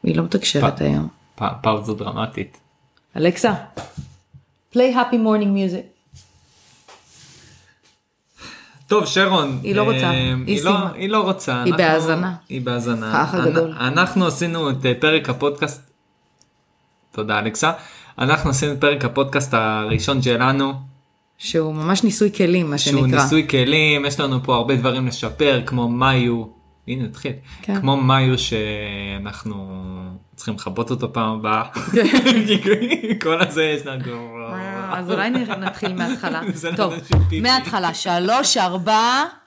Speaker 1: היא לא מתקשרת
Speaker 2: פ-
Speaker 1: היום.
Speaker 2: פ- פאוזה דרמטית.
Speaker 1: אלכסה, play happy morning music.
Speaker 5: טוב, שרון.
Speaker 1: היא לא
Speaker 5: אה,
Speaker 1: רוצה, היא
Speaker 5: היא לא-
Speaker 1: סיימה.
Speaker 5: היא לא רוצה.
Speaker 1: היא
Speaker 5: אנחנו-
Speaker 1: בהאזנה.
Speaker 5: היא בהאזנה.
Speaker 1: האח הגדול.
Speaker 5: אנ- אנחנו עשינו את אה, פרק הפודקאסט. תודה, אלכסה. אנחנו עשינו את פרק הפודקאסט הראשון שלנו.
Speaker 1: שהוא ממש ניסוי כלים, מה שנקרא.
Speaker 5: שהוא ניסוי כלים, יש לנו פה הרבה דברים לשפר, כמו מאיו, הנה התחיל,
Speaker 1: כן.
Speaker 5: כמו מאיו שאנחנו צריכים לכבות אותו פעם הבאה,
Speaker 1: כן.
Speaker 5: כי (laughs) כל הזה יש לנו,
Speaker 1: אה, וואו, אז אולי נ- נתחיל מההתחלה.
Speaker 5: (laughs) זה לא
Speaker 1: טוב,
Speaker 5: לאנשים פיפי.
Speaker 1: מההתחלה, שלוש, ארבע.